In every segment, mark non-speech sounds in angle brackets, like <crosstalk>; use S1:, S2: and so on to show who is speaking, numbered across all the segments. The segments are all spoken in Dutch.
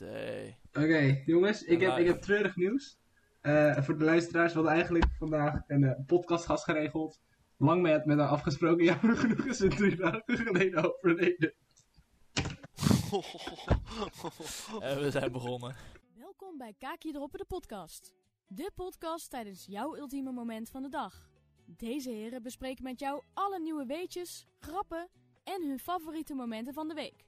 S1: Nee.
S2: Oké, jongens, ik heb,
S1: Nou,
S2: ik heb treurig nieuws. Eh, voor de luisteraars, we hadden eigenlijk vandaag een eh, podcastgast geregeld. Lang met, met haar afgesproken. <laughs> Ja, maar genoeg is het drie dagen geleden overleden.
S1: En Eh, we zijn begonnen.
S3: Welkom bij Kaakje Droppen, de podcast. De podcast tijdens jouw ultieme moment van de dag. Deze heren bespreken met jou alle nieuwe weetjes, grappen en hun favoriete momenten van de week.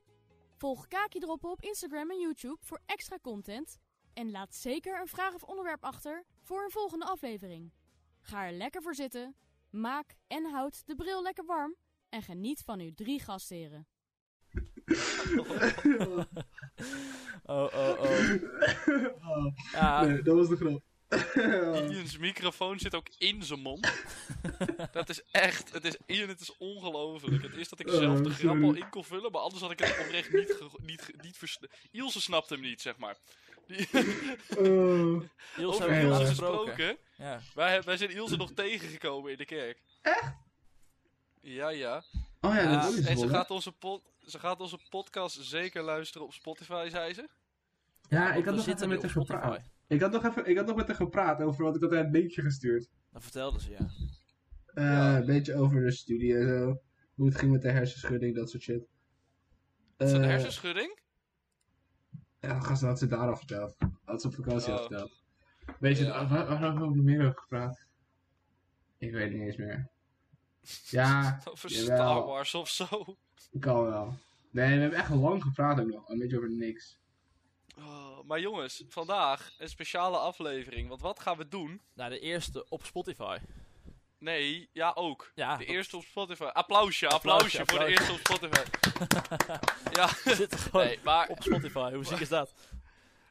S3: Volg Kaakje Droppen op Instagram en YouTube voor extra content. En laat zeker een vraag of onderwerp achter voor een volgende aflevering. Ga er lekker voor zitten, maak en houd de bril lekker warm en geniet van uw drie gastheren.
S1: Oh, oh, oh.
S2: Oh,
S1: Ja,
S2: nee, dat was de grap.
S4: Ian's microfoon zit ook in zijn
S1: <laughs>
S4: mond. dat is echt, het is, Ian, het is ongelooflijk. Het is dat ik
S2: Oh,
S4: zelf de grap
S2: sorry.
S4: al in kon vullen, maar anders had ik het oprecht niet, ge- niet, ge- niet vers- Ilse snapt hem niet, zeg maar. Die,
S2: Oh.
S1: Ilse
S4: over
S1: hebben we
S2: heel
S4: Ilse
S1: al
S2: erg
S4: gesproken.
S1: gesproken. Ja.
S4: Wij, heb- wij zijn Ilse nog tegengekomen in de kerk. Echt? Ja, ja.
S2: oh ja,
S1: Eh,
S4: Ja,
S2: dat is
S4: en ze
S2: wel.
S4: gaat, onze pod, ze gaat onze podcast zeker luisteren op Spotify, zei ze.
S2: Ja, ik
S1: Want
S2: had
S1: we
S2: nog
S1: zitten
S2: even
S1: nu
S2: met haar
S1: op Spotify.
S2: gepraat. Ik had nog, even, ik had nog met haar gepraat over wat ik had haar een linkje gestuurd.
S1: Dat vertelden ze, ja.
S2: Eh,
S4: Ja.
S2: Een beetje over de studie en zo. Hoe het ging met de hersenschudding, dat soort shit.
S4: Is dat een
S2: Eh,
S4: hersenschudding? <laughs>
S2: Ja, gast, dat had ze daar al verteld. Had ze op vakantie al
S4: Oh.
S2: verteld. Weet je,
S4: Ja.
S2: waar, waar waar hebben we nog meer over gepraat? Ik weet het niet eens meer. Ja,
S4: Over
S2: jawel.
S4: Star Wars of zo.
S2: ik kan wel. Nee, we hebben echt lang gepraat ook nog. Een beetje over niks.
S4: Oh, maar jongens, vandaag een speciale aflevering. Want wat gaan we doen?
S1: Nou, de eerste op Spotify.
S4: Nee, ja ook.
S1: Ja,
S4: de
S1: dat-
S4: eerste op Spotify. Applausje, applausje,
S1: Applausje,
S4: voor de eerste op Spotify.
S1: <laughs>
S4: <laughs>
S1: we zitten gewoon
S4: Nee, maar
S1: op Spotify. Hoe ziek is
S4: <laughs>
S1: dat?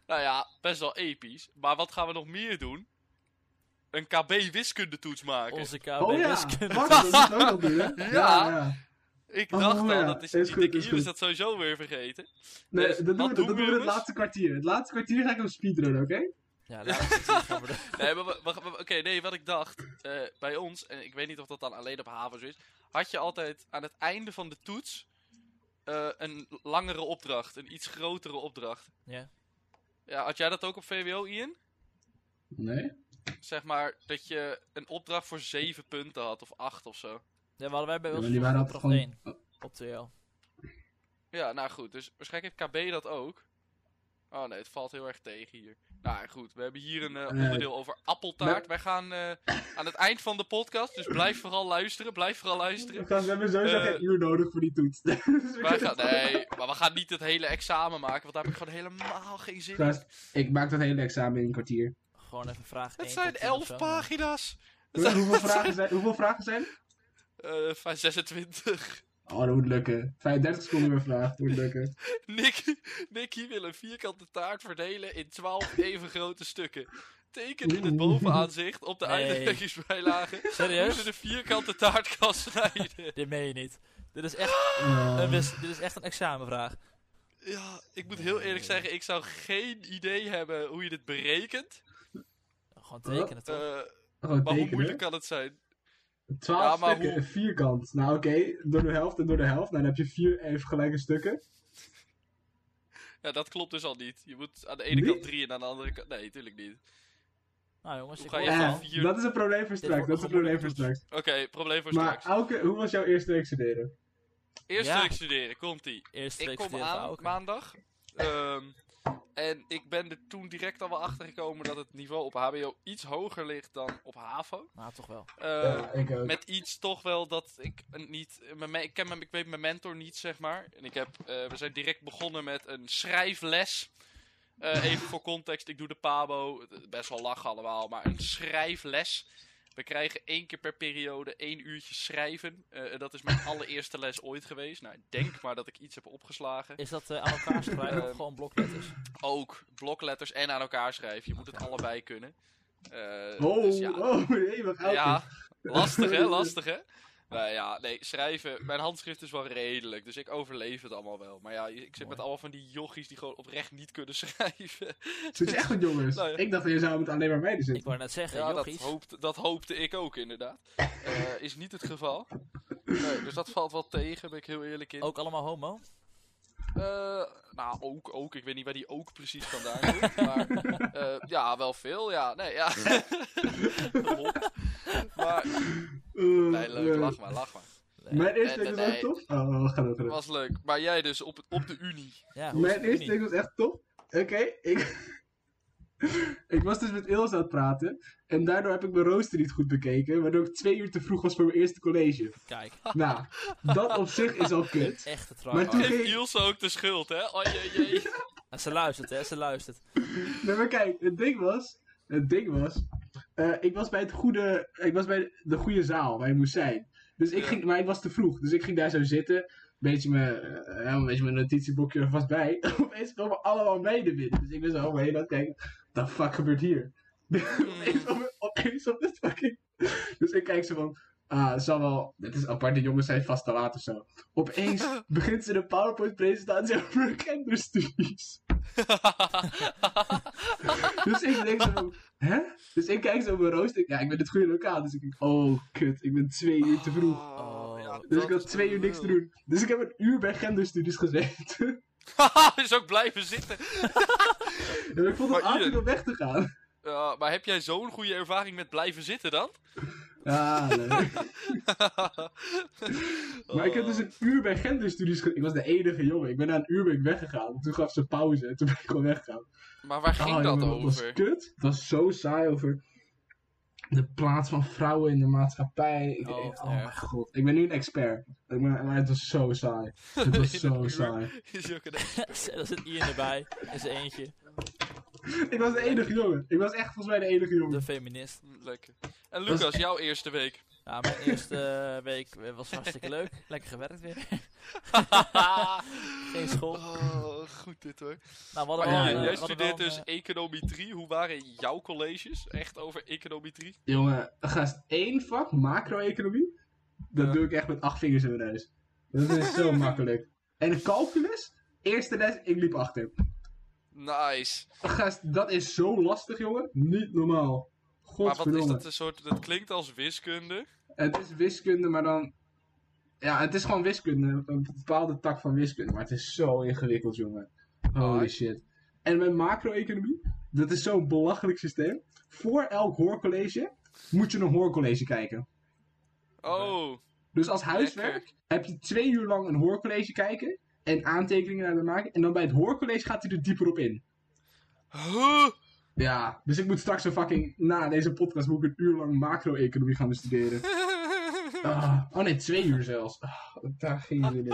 S4: nou ja, best wel episch. Maar wat gaan we nog meer doen? Een KB wiskundetoets maken.
S1: Onze
S2: oh ja,
S1: KB-wiskunde.
S2: fuck, dat is ook
S4: <laughs>
S2: al doen, hè?
S4: Ja.
S2: ja.
S4: Ik
S2: Oh,
S4: dacht al,
S2: ja,
S4: dat is,
S2: is
S4: die
S2: goed,
S4: dikke
S2: is
S4: Ier is
S2: goed.
S4: dat sowieso weer vergeten.
S2: Nee,
S4: Dus,
S2: dat doen
S4: wat
S2: we, dat
S4: doen
S2: doen we
S4: we,
S2: in het
S4: jongens?
S2: laatste kwartier. Het laatste kwartier ga ik hem speedrunnen, oké?
S1: Ja, laten we
S4: Nee, maar we- we- we- oké, nee, wat ik dacht, eh, bij ons, en ik weet niet of dat dan alleen op havens is, had je altijd aan het einde van de toets eh, een langere opdracht, een iets grotere opdracht.
S1: Ja.
S4: Ja, had jij dat ook op VWO, Ian?
S2: Nee?
S4: Zeg maar dat je een opdracht voor zeven punten had, of acht of zo.
S1: Ja, we hadden wij bij
S2: Ja,
S1: ons
S2: maar die waren altijd
S1: opdracht
S2: gewoon...
S1: 1
S2: Oh,
S1: op TL.
S4: Ja, nou goed, dus waarschijnlijk heeft KB dat ook. Oh nee, het valt heel erg tegen hier. Nou goed, we hebben hier een eh,
S2: Nee.
S4: onderdeel over appeltaart.
S2: Nee.
S4: Wij gaan eh, aan het eind van de podcast, dus blijf vooral luisteren, blijf vooral luisteren.
S2: gast, we hebben sowieso
S4: Eh,
S2: geen uur nodig voor die toets. <laughs> Dus we
S4: Wij
S2: kunnen
S4: gaan,
S2: het gewoon-
S4: nee, maar we gaan niet het hele examen maken, want daar heb ik gewoon helemaal geen zin in.
S2: Gast, ik maak dat hele examen in een
S4: <laughs>
S2: kwartier.
S1: Gewoon even vraag 1
S4: Het zijn
S1: tot 10 of
S4: elf
S1: zo.
S4: pagina's.
S2: Hoe- hoeveel, vragen zijn, hoeveel vragen zijn?
S4: Eh, van 26.
S2: Oh, dat moet lukken. 35 seconden weer vraag, dat moet
S4: <laughs>
S2: lukken.
S4: Nick, Nicky wil een vierkante taart verdelen in 12 <laughs> even grote stukken. Teken in het bovenaanzicht op de
S1: Nee.
S4: eindrekkingsbijlage hoe ze
S1: Serieus?
S4: de vierkante taart kan snijden.
S1: Dit meen je niet. Dit is echt
S2: Oh.
S1: een, wis- dit is echt een examenvraag.
S4: Ja, ik moet heel eerlijk zeggen, ik zou geen idee hebben hoe je dit berekent.
S1: Nou, Gewoon tekenen, toch?
S4: Eh,
S2: Gewoon
S4: maar hoe
S2: tekenen.
S4: moeilijk kan het zijn?
S2: 12
S4: Ja, maar
S2: stukken,
S4: hoe-
S2: vierkant. Nou oké, door de helft en door de helft. Nou, dan heb je vier even gelijke stukken.
S4: Ja, dat klopt dus al niet. Je moet aan de ene
S2: Niet?
S4: kant drie en aan de andere kant... Nee, tuurlijk niet.
S1: nou jongens,
S4: Hoe
S1: ik
S4: ga
S1: hoor
S4: je
S1: het
S4: gaan
S1: al.
S2: Eh,
S4: vier-
S2: dat is een probleem voor straks.
S1: wordt
S2: Dat is een
S1: nog
S2: probleem
S1: een
S2: voor
S1: moeilijke
S2: straks.
S4: Oké, probleem voor
S2: Maar
S4: straks.
S2: Auke, hoe was jouw eerste week studeren?
S4: Eerst
S1: Ja.
S4: wil ik studeren, komt ie.
S1: Eerste
S4: Ik
S1: week
S4: kom
S1: studeren
S4: aan
S1: ook.
S4: maandag. Ehm, en ik ben er toen direct al wel achter gekomen dat het niveau op HBO iets hoger ligt dan op HAVO.
S1: Nou, toch wel.
S4: Ehm,
S2: ja, ik ook.
S4: Met iets toch wel dat ik een niet. Mijn, me- ik, ken mijn, ik weet mijn mentor niet, zeg maar. En ik heb, eh, we zijn direct begonnen met een schrijfles. Eh, even voor context, ik doe de Pabo. Best wel lachen allemaal, maar een schrijfles. We krijgen één keer per periode één uurtje schrijven. Eh, en dat is mijn allereerste les ooit geweest. Nou, ik denk maar dat ik iets heb opgeslagen.
S1: Is dat eh, aan elkaar
S4: <laughs>
S1: schrijven
S4: Ehm,
S1: of gewoon blokletters?
S4: Ook blokletters en aan elkaar schrijven. Je moet het allebei kunnen. Eh,
S2: Oh,
S4: dus ja,
S2: oh, <laughs> eeuwig Auke.
S4: ja, lastig
S2: <laughs>
S4: hè, lastig hè. Nou ja, nee, schrijven. Mijn handschrift is wel redelijk, dus ik overleef het allemaal wel. Maar ja, ik zit
S1: Mooi.
S4: met allemaal van die jochies die gewoon oprecht niet kunnen <laughs> schrijven.
S2: Zit je echt goed, jongens?
S4: Nou ja.
S2: Ik dacht, je zou het alleen maar mede
S1: Ik
S2: zitten.
S1: wou net zeggen,
S4: Ja, dat,
S1: jochies.
S4: hoopte, dat hoopte ik ook inderdaad. Eh, is niet het geval. Nee, dus dat valt wel tegen, ben ik heel eerlijk in.
S1: Ook allemaal homo?
S4: Eh, nou, ook, ook. Ik weet niet waar die ook precies vandaan
S2: <laughs>
S4: komt. maar eh, ja, wel veel. Ja, nee, ja. <laughs> Hond. maar,
S2: Eh,
S4: nee, leuk.
S2: eh,
S4: Lach maar, lach maar.
S2: Mijn eerste
S4: Nee,
S2: ding was
S4: nee,
S2: echt
S4: nee.
S2: tof. Oh, we gaan door, we gaan door.
S4: Was leuk. Maar jij dus op, het- op de Unie.
S1: Ja, hoe is
S2: Mijn
S1: het nu
S2: eerste ding
S1: niet?
S2: was echt tof. Oké, ik... <laughs> ik was dus met Ilse aan het praten. En daardoor heb ik mijn rooster niet goed bekeken. Waardoor ik twee uur te vroeg was voor mijn eerste college.
S1: Kijk,
S2: Nou, dat op zich is al kut.
S1: echte
S2: Maar
S1: tryhard.
S2: toen-
S4: Geef Ilse ook de schuld, hè? Oh jee, jee.
S1: En ze luistert, hè, ze luistert. <laughs>
S2: Nee, maar kijk, het ding was... Het ding was... eh, ik was bij, het goede, ik was bij de goede zaal waar je moest zijn. Dus ik
S4: Ja.
S2: ging, maar ik was te vroeg. Dus ik ging daar zo zitten. Een beetje mijn, eh, een beetje mijn notitieblokje er vast bij. <laughs> Opeens komen allemaal meiden binnen. Dus ik ben zo om me heen aan het kijken. What the fuck gebeurt hier? <laughs> opeens, op, opeens op de fucking... Dus ik kijk zo van... Ah, het zal wel... Dit is apart, de jongens zijn vast te laat of zo. Opeens begint ze een PowerPoint-presentatie over genderstudies. Dus ik denk zo, van, hè? Dus ik kijk zo op mijn rooster. Ja, ik ben het goede lokaal. Dus ik denk, oh kut, ik ben twee uur te vroeg.
S1: Oh,
S4: Ja,
S2: Dus
S4: dat
S2: ik had
S4: is
S2: twee uur niks te doen. Dus ik heb een uur bij genderstudies gezeten. <laughs>
S4: <laughs> dus ook blijven zitten.
S2: En ik vond het
S4: Maar
S2: aardig
S4: Ian-
S2: om weg te gaan.
S4: Ja, maar heb jij zo'n goede ervaring met blijven zitten dan?
S2: Ah, leuk. <laughs> Maar ik heb dus
S4: Oh.
S2: een uur bij genderstudies ge- Ik was de enige jongen. Ik ben na een uur ben ik weggegaan. Toen gaf ze pauze en toen ben ik gewoon weggegaan.
S4: Maar waar ging
S2: Ah,
S4: dat
S2: jongen,
S4: over? <laughs>
S2: was kut. Het was zo saai over de plaats van vrouwen in de maatschappij. Ik,
S1: Oh,
S2: oh,
S1: wat
S2: oh mijn
S1: erg.
S2: god. Ik ben nu een expert. Ik ben- maar het was zo saai. Het was
S4: <laughs> In een
S2: zo
S4: uur
S2: saai.
S4: Is ook een...
S1: er zit Ian erbij, in zijn eentje.
S2: Ik was de enige jongen. Ik was echt volgens mij de enige
S1: De
S2: jongen.
S1: feminist.
S4: Lekker. En Lucas, jouw eerste week.
S1: Ja, mijn eerste eh, week eh, was hartstikke leuk. Lekker gewerkt weer. <laughs> Nou, Geen school.
S4: Oh, goed dit hoor.
S1: Nou, we hadden
S4: Maar
S1: wel, eh,
S2: ja,
S4: jij,
S1: we
S4: jij
S1: hadden
S4: studeert
S1: wel een,
S4: dus econometrie. Hoe waren jouw colleges? Echt over econometrie?
S2: Jongen, gast, één vak macro-economie. Dat
S4: Ja.
S2: doe ik echt met acht vingers in mijn neus. Dat is
S4: <laughs>
S2: zo makkelijk. En calculus, eerste les, ik liep achter.
S4: Nice.
S2: Gast, dat is zo lastig, jongen. Niet normaal.
S4: Maar wat is
S2: Godverdomme.
S4: dat een soort... Dat klinkt als wiskunde.
S2: Het is wiskunde, maar dan... Ja, het is gewoon wiskunde. Een bepaalde tak van wiskunde. Maar het is zo ingewikkeld, jongen. Holy
S4: Alright.
S2: shit. En met macro-economie, dat is zo'n belachelijk systeem. Voor elk hoorcollege moet je een hoorcollege kijken. <laughs>
S4: Oh,
S2: Dus als huiswerk
S4: lekker.
S2: heb je twee uur lang een hoorcollege kijken. En aantekeningen naar maken. En dan bij het hoorcollege gaat hij er dieper op in.
S4: Huh?
S2: Ja, dus ik moet straks een fucking... Na deze podcast moet ik een uur lang macro-economie gaan bestuderen. Ah, oh nee, twee uur zelfs. Ah, daar ging je in.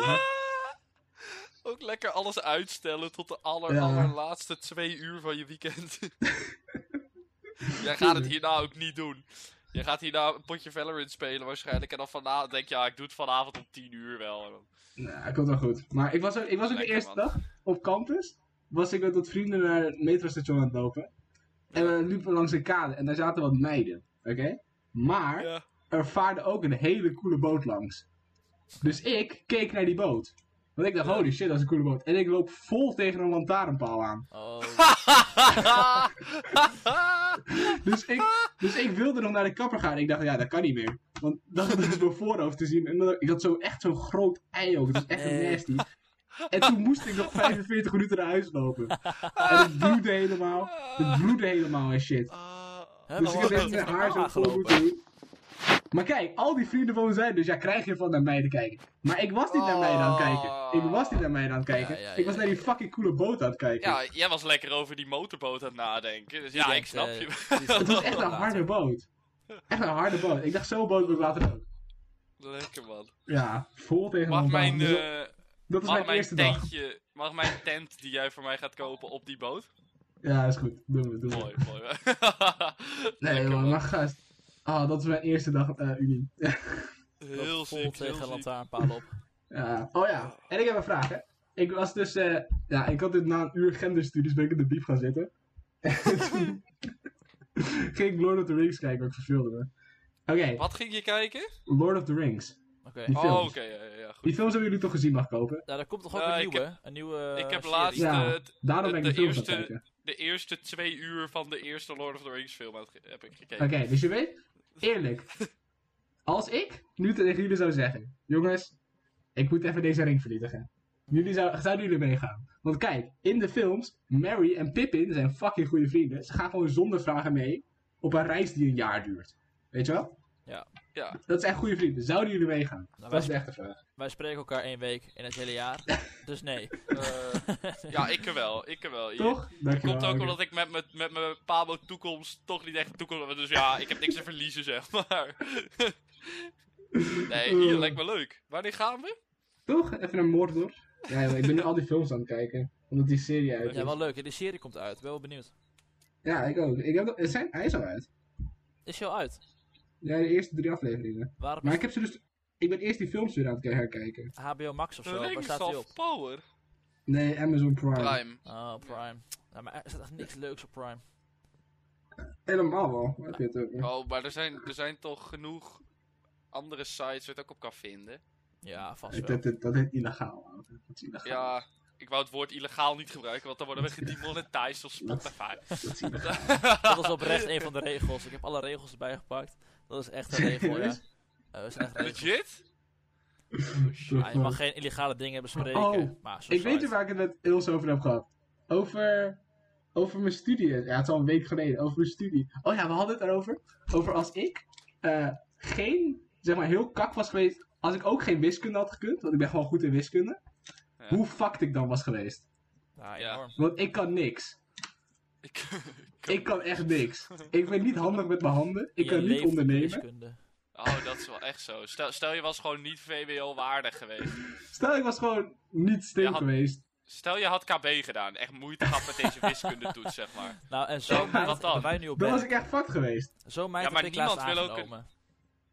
S4: <laughs> Ook lekker alles uitstellen tot de aller,
S2: Ja.
S4: allerlaatste twee uur van je weekend. <laughs> Jij gaat het hierna ook niet doen. Je gaat hierna een potje Valorant spelen waarschijnlijk. En dan vanavond denk je, ja, ik doe het vanavond om tien uur wel. En dan-
S2: Nou, komt wel goed. Maar ik was ook, ik was ook de
S4: Lekker,
S2: eerste
S4: man.
S2: dag op campus. Was ik met wat vrienden naar het metrostation aan het lopen. En we liepen langs een kade en daar zaten wat meiden. Oké? Maar
S4: Ja.
S2: er vaarde ook een hele coole boot langs. Dus ik keek naar die boot. Want ik dacht, holy shit, dat is een coole boot. En ik loop vol tegen een lantaarnpaal aan.
S1: Oh,
S2: Dus ik, dus ik wilde nog naar de kapper gaan. Ik dacht, ja, dat kan niet meer. Want dat is mijn voorhoofd te zien. En dan, ik had zo, echt zo'n groot ei ook. Dat is echt
S1: Nee.
S2: een nasty. En toen
S1: <laughs>
S2: moest ik nog 45 minuten naar huis lopen. En het bloedde helemaal. Het bloedde helemaal en shit.
S1: Hè,
S2: Dus ik heb
S1: waarom
S2: echt
S1: heb je
S2: mijn
S1: geen
S2: haar zo
S1: haar
S2: vol moeten doen. Maar kijk, al die vrienden van me zijn dus ja, krijg je van naar mij te kijken. Maar ik was niet naar mij aan het kijken. Ik was niet naar mij aan het kijken.
S1: Oh. Ja, ja,
S2: ik was
S1: ja,
S2: naar die fucking coole boot aan het kijken.
S4: <laughs> Ja, jij was lekker over die motorboot aan het nadenken. Dus ja, ik
S1: denkt,
S4: snap
S1: eh,
S4: je.
S1: <laughs> die
S2: het was echt een
S1: later.
S2: harde boot. Echt een harde boot. Ik dacht, zo'n boot wil ik later ook.
S4: <laughs> Lekker man.
S2: Ja, vol tegen
S4: Mag
S2: elkaar.
S4: mijn,
S2: Dus dat-
S4: eh,
S2: dat is
S4: mag
S2: mijn
S4: mijn
S2: eerste dag.
S4: tentje, mag mijn tent die jij voor mij gaat kopen op die boot?
S2: Ja, is goed. Doen we, doen we.
S4: Mooi, mooi. <laughs>
S2: Nee,
S4: Lekker,
S2: jongen,
S4: man.
S2: maar gast. Ah, dat is mijn eerste dag eh Unie.
S1: vol
S4: Heel ziek, heel
S1: tegen
S4: ziek.
S1: lantaarnpalen op.
S2: <laughs> Ja. Oh ja, en ik heb een vraag, hè. Ik was dus, eh, ja, ik had dit na een uur genderstudies, ben ik in de diep gaan zitten. <laughs> En toen ging ik Lord of the Rings kijken, want ik verveelde me. Oké,
S4: Wat ging je kijken?
S2: Lord of the Rings.
S1: Oké.
S2: Die
S4: Oh, oké,
S2: films.
S4: ja, ja, ja, goed.
S2: Die films hebben jullie toch gezien mag kopen?
S1: Nou, daar komt toch ook
S4: Eh,
S1: een
S4: ik
S1: nieuwe, hè? een nieuwe
S4: ik heb
S1: serie.
S4: laatst
S2: Ja.
S4: eh, t-
S2: Daarom ben ik
S4: de
S2: de film gaan
S4: eerste-
S2: kijken.
S4: de eerste twee uur van de eerste Lord of the Rings film had ge- heb ik gekeken.
S2: Oké, dus je weet, eerlijk. Als ik nu tegen jullie zou zeggen, jongens, ik moet even deze ring vernietigen. Jullie zou, zouden jullie meegaan? Want kijk, in de films, Mary en Pippin zijn fucking goede vrienden. Ze gaan gewoon zonder vragen mee op een reis die een jaar duurt. Weet je wel?
S1: Ja.
S4: Ja.
S2: Dat zijn goede vrienden. Zouden jullie meegaan?
S1: Nou,
S2: Dat is
S1: wij,
S2: de echte vraag.
S1: wij spreken elkaar één week in het hele jaar.
S4: <laughs>
S1: dus nee.
S4: Eh, ja, ik er wel. Ik er wel. Je-
S2: Toch? Dankjewel.
S4: Komt ook
S2: Anke.
S4: omdat ik met mijn met mijn Pabo toekomst toch niet echt een toekomst heb. Dus ja, ik heb niks te verliezen, zeg maar. <laughs> nee, hier lijkt me leuk. Wanneer gaan we?
S2: Toch? Even naar Mordor. Ja, joh, ik ben nu al die films aan het kijken. Omdat die serie uit is.
S1: Ja,
S2: Ja,
S1: wel leuk. hè. Die serie komt uit. Ik ben wel benieuwd.
S2: ik ook. Ik heb, het zijn, hij is al uit.
S1: Is je al uit?
S2: Ja, de eerste drie afleveringen.
S1: Waarom
S2: Maar ik heb ze dus... Ik ben eerst die films weer aan het herkijken.
S1: is HBO Max of zo? Waar
S4: Rings
S1: staat die op?
S4: of Power.
S2: Nee, Amazon Prime.
S4: Prime.
S1: Oh, Prime. Nou, maar er staat echt niks leuks op Prime.
S2: Helemaal wel. Waar heb je het over?
S4: Oh, maar er zijn, er zijn toch genoeg andere sites waar je het ook op kan vinden.
S1: Ja, vast
S2: Dat,
S1: wel.
S2: dat, dat, dat heet illegaal. ouwe. Dat is illegaal.
S4: Ja, ik wou het woord illegaal niet gebruiken, want dan worden we gedemonetized op
S1: <laughs>
S4: Spotify.
S2: Dat is illegaal.
S1: Dat is oprecht een van de regels. Ik heb alle regels erbij gepakt. Dat is echt een
S2: <laughs>
S1: regel, ja.
S2: Serieus?
S1: Eh, Dat is echt een regel.
S4: Legit?
S1: Ja, je mag geen illegale dingen bespreken.
S2: Oh,
S1: maar zo
S2: Ik weet
S1: het.
S2: niet waar ik het met Ilse over heb gehad. Over, over mijn studie. Ja, het is al een week geleden. Over mijn studie. Oh ja, we hadden het erover. Over als ik eh, geen, zeg maar, heel kak was geweest. Als ik ook geen wiskunde had gekund. Want ik ben gewoon goed in wiskunde.
S4: Ja.
S2: Hoe fucked ik dan was geweest.
S1: Ja,
S4: Ja.
S1: enorm.
S2: Want ik kan niks.
S4: Ik,
S2: Ik kan echt niks. Ik ben niet handig met mijn handen. Ik kan niet ondernemen.
S4: Oh, dat is wel echt zo. Stel, stel je was gewoon niet VWO-waardig geweest.
S2: Stel, ik was gewoon niet slim
S4: Je had-
S2: geweest.
S4: Stel je had KB gedaan. Echt moeite gehad met deze wiskundetoets, zeg maar.
S1: Nou, en
S4: Ja,
S1: zo
S4: wat
S1: meid
S4: dan?
S1: hebben wij nu op
S2: Dan was
S1: werk.
S2: ik echt fucked geweest.
S1: Zo meid
S4: Ja, maar
S1: heb ik laatst
S4: niemand wil ook een-
S1: aangenomen.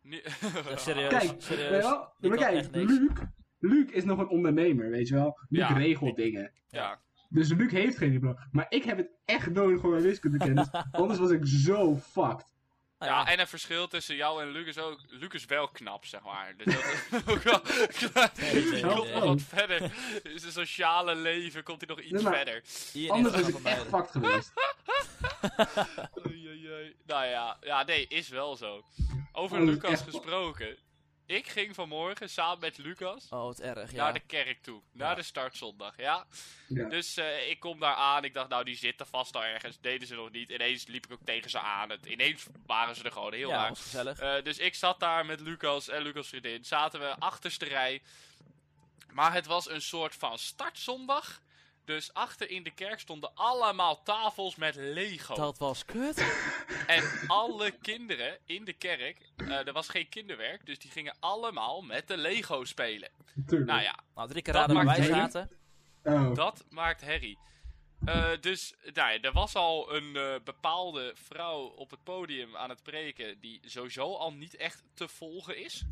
S1: Nou
S4: Nu- <laughs>
S1: Ja, serieus.
S2: Kijk,
S1: serieus.
S2: weet je wel?
S1: Die
S2: maar
S1: kan
S2: kijk,
S1: echt niks.
S2: Luc, Luc is nog een ondernemer, weet je wel? Luc
S4: Ja.
S2: regelt dingen.
S4: Ja.
S2: Dus Luc heeft geen diploma. Maar ik heb het echt nodig voor mijn wiskundekennis.
S4: <laughs>
S2: anders was ik zo fucked.
S1: Nou
S4: ja, en een verschil tussen jou en Lucas ook. Lucas wel knap, zeg maar. Dus dat is <laughs> ook wel... <laughs>
S1: nee,
S4: komt
S1: nee.
S4: nog wat verder. In zijn sociale leven komt hij nog iets
S2: Nee, maar-
S4: verder.
S1: Ian is
S2: Anders was
S1: een
S2: ik
S1: van
S2: echt
S1: beiden.
S2: fucked geweest.
S4: Oei, oei, oei. Nou ja, ja, nee, is wel zo. Over
S2: Oh, dat is
S4: Lucas
S2: echt-
S4: gesproken. Ik ging vanmorgen samen met Lucas
S1: Oh, wat erg, ja.
S4: naar de kerk toe. Naar
S1: Ja.
S4: de startzondag, ja.
S2: Ja.
S4: Dus eh, ik kom daar aan. Ik dacht, nou, die zitten vast al ergens. Deden ze nog niet. Ineens liep ik ook tegen ze aan. Het, ineens waren ze er gewoon heel
S1: ja,
S4: raar.
S1: was gezellig.
S4: Eh, dus ik zat daar met Lucas en Lucas' vriendin. Zaten we achterste rij. Maar het was een soort van startzondag. Dus achter in de kerk stonden allemaal tafels met Lego.
S1: Dat was kut.
S4: En alle kinderen in de kerk, eh, er was geen kinderwerk, dus die gingen allemaal met de Lego spelen.
S2: Natuurlijk.
S4: Nou ja,
S1: Nou, drie keer
S4: Dat
S1: raden waar
S4: maakt
S1: wij
S4: herrie.
S1: zaten.
S2: Oh.
S4: dat maakt herrie. Eh, dus nou ja, er was al een eh, bepaalde vrouw op het podium aan het preken die sowieso al niet echt te volgen is.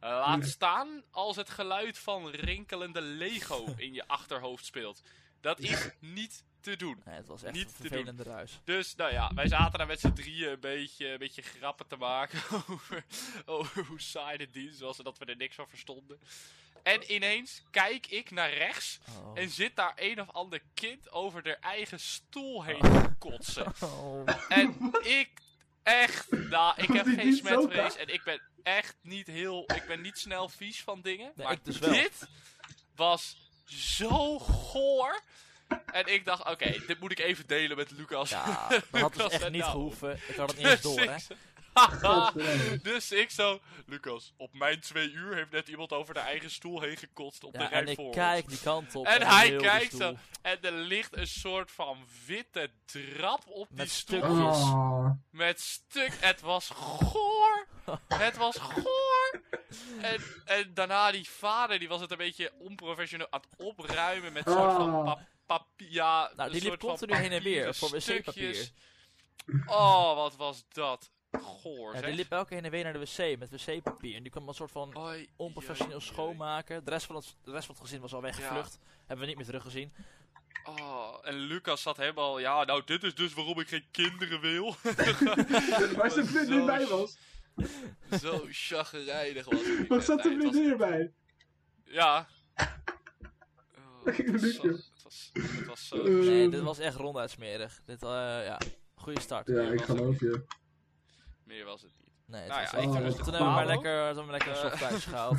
S4: Eh, laat staan als het geluid van rinkelende Lego in je achterhoofd speelt. Dat is niet te doen.
S1: Nee, het was echt
S4: Niet
S1: een
S4: te doen.
S1: vervelende ruis.
S4: Dus nou ja, wij zaten daar met z'n drieën een beetje, een beetje grappen te maken <laughs> over, over hoe saai de dienst was en dat we er niks van verstonden. En ineens kijk ik naar rechts
S1: Oh.
S4: en zit daar een of ander kind over haar eigen stoel heen te kotsen.
S1: Oh.
S2: <laughs>
S4: En ik, echt, nou, ik
S2: Was
S4: heb
S2: die
S4: geen
S2: niet zo
S4: smetvrees
S2: kaal?
S4: en ik ben echt niet heel, ik ben niet snel vies van dingen.
S1: Nee,
S4: maar
S1: ik dus wel.
S4: dit was zo goor. En ik dacht, oké, dit moet ik even delen met Lucas. <laughs>
S1: Ja, dat had dus
S4: Lucas
S1: echt
S4: en
S1: niet
S4: Daan.
S1: gehoeven. Ik had
S4: <laughs>
S1: het niet eens
S4: Dus
S1: door, hè.
S4: ik, zo-
S2: Godverdomme.
S4: dus ik <laughs> zo, Lucas, op mijn twee uur heeft net iemand over de eigen stoel heen gekotst op de
S1: Ja,
S4: rij
S1: en ik
S4: voor ons.
S1: kijk die kant op.
S4: En hij
S1: heel die
S4: kijkt
S1: stoel.
S4: zo. En er ligt een soort van witte drap op die
S1: Met
S4: stoel.
S1: stukjes.
S2: Oh.
S4: Met stuk. Het was goor. Het was goor. En, en daarna die vader, die was het een beetje onprofessioneel aan het opruimen met een soort van
S2: Oh.
S4: pap papier. Ja,
S1: Nou,
S4: een
S1: die liep
S4: soort van
S1: continu heen en weer
S4: papieren
S1: voor wc-papier.
S4: stukjes. Oh, wat was dat goor,
S1: Ja,
S4: zeg.
S1: die liep elke heen en weer naar de wc met wc-papier. En die kwam een soort van
S4: Oei,
S1: onprofessioneel
S4: oei, oei.
S1: schoonmaken. De rest, van het, de rest van het gezin was al weggevlucht. Hebben we niet meer teruggezien.
S4: Oh, en Lucas zat helemaal, ja, nou, dit is dus waarom ik geen kinderen
S1: <laughs>
S4: wil.
S2: <laughs> Waar zijn vriendin
S4: Zo
S2: bij was.
S4: Zo chagrijnig was hij.
S2: Wat zat
S4: Nee,
S2: er
S4: het was-
S2: vriendin bij?
S4: Ja.
S2: <laughs>
S4: Oh,
S2: Oké,
S4: het, was,
S2: Lucas.
S4: het, was, het was zo...
S2: Eh,
S1: Nee, dit was echt ronduit smerig. Dit, eh, ja, goede start.
S2: Ja,
S4: was
S2: ik geloof je.
S4: Meer was het niet.
S1: Nee, het
S4: Nou
S1: was
S4: ja,
S1: echt-
S4: ik
S2: Oh,
S4: heb
S2: dat
S4: dus
S2: is
S4: de
S1: Toen hebben we maar <laughs>
S4: Pablo.
S1: lekker, toen hebben we lekker een soft
S4: Eh.
S1: thuis gehaald.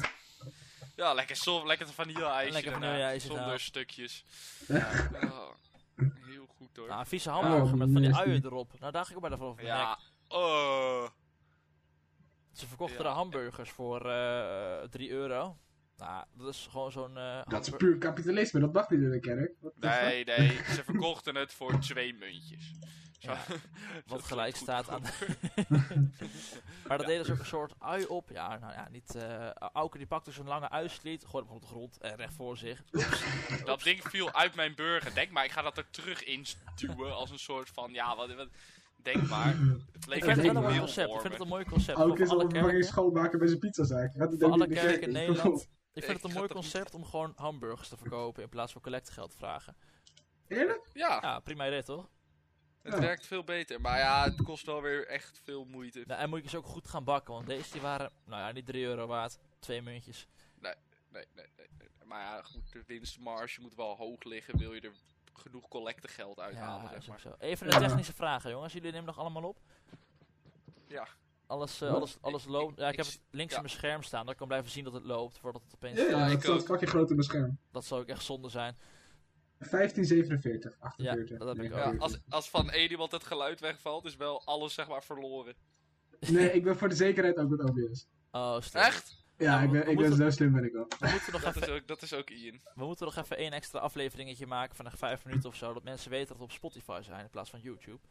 S4: Ja, lekker, soft, lekker vanille-ijsje
S1: Lekker
S4: daarna,
S1: vanille-ijsje
S4: Zonder
S1: eraan.
S4: stukjes. Ja, oh, heel goed hoor.
S1: Nou, een vieze hamburger
S2: Oh,
S1: met van die
S2: nasty.
S1: uien erop. Nou, daar ga ik ook maar daarvan van. Ja.
S4: ja. Oh.
S1: Ze verkochten
S4: Ja.
S1: de hamburgers voor eh 3 euro. Nou, dat is gewoon zo'n... eh,
S2: Dat is
S1: hamburger-
S2: puur kapitalisme, dat mag niet in de kerk. Wat de fuck? <laughs>
S4: Nee, nee, ze verkochten het voor twee muntjes. Zo.
S1: Ja,
S4: Dat
S1: <laughs> Wat gelijk
S4: goed
S1: staat aan.
S4: goed.
S1: <laughs> maar dat deden ze ook een soort ui op. Ja, nou ja, niet. eh Auken die pakte zo'n lange uitsliet, gooide hem op de grond en recht voor zich.
S4: Dat ding viel uit mijn burger. Denk maar, ik ga dat er terug in duwen als een soort van, ja, wat, wat- denk maar. Het
S1: Ik
S4: leek
S1: vind het wel
S2: denk
S1: een mooi
S2: maar.
S1: concept. Ik vind het een mooi concept.
S2: Ook
S1: Voor
S2: is al
S1: alle
S2: een fucking
S1: kerken,
S2: schoonmaker bij zijn pizzazaak. Gaat die
S1: voor
S2: dan
S1: alle
S2: in <laughs> de
S1: kerken in
S2: kerk?
S1: Nederland. Ik
S4: Ik
S1: vind het een
S4: ga
S1: mooi
S4: dat niet-
S1: concept om gewoon hamburgers te verkopen in plaats van collectegeld te vragen.
S2: Eerlijk?
S4: Ja,
S1: Ja, prima idee toch?
S4: het
S2: Ja.
S4: werkt veel beter. Maar ja, het kost wel weer echt veel moeite.
S1: Nou, en moet je ze ook goed gaan bakken, want deze die waren, nou ja, niet 3 euro waard. Twee muntjes.
S4: Nee, nee, nee, nee. nee. Maar ja, goed, de winstmarge moet wel hoog liggen. Wil je er genoeg collectegeld uit halen,
S1: Ja,
S4: zeg
S1: is ook
S4: maar.
S1: zo. Even
S2: Ja.
S1: de technische vragen, jongens. Jullie nemen nog allemaal op?
S4: Ja.
S1: Alles, eh,
S2: Wat?
S1: alles, alles
S4: Ik-
S1: loopt. Ja, ik
S4: ik
S1: heb
S4: zie-
S1: het links
S4: ja.
S1: in mijn scherm staan. Dat ik kan blijven zien dat het loopt voordat het opeens...
S2: Ja, ja,
S4: ik
S2: dat staat
S4: ook.
S2: fucking groot in mijn scherm.
S1: Dat zou ook echt zonde zijn.
S2: 1547,
S1: Ja,
S2: 48.
S1: dat heb ik
S4: Ja,
S2: 49.
S4: als, als van één iemand het geluid wegvalt, is wel alles zeg maar verloren.
S2: <laughs> Nee, ik ben voor de zekerheid ook met OBS.
S1: <laughs> Oh, slim.
S4: Echt?
S2: Ja,
S1: Ja,
S2: ik
S1: we-
S2: ben,
S1: we
S2: ik ben
S1: moeten-
S2: zo slim ben ik wel.
S1: We moeten, nog
S4: Dat
S1: even,
S4: is ook, dat is ook Ian.
S1: we moeten nog even één extra afleveringetje maken van echt vijf minuten of zo. Dat mensen weten dat we op Spotify zijn in plaats van YouTube.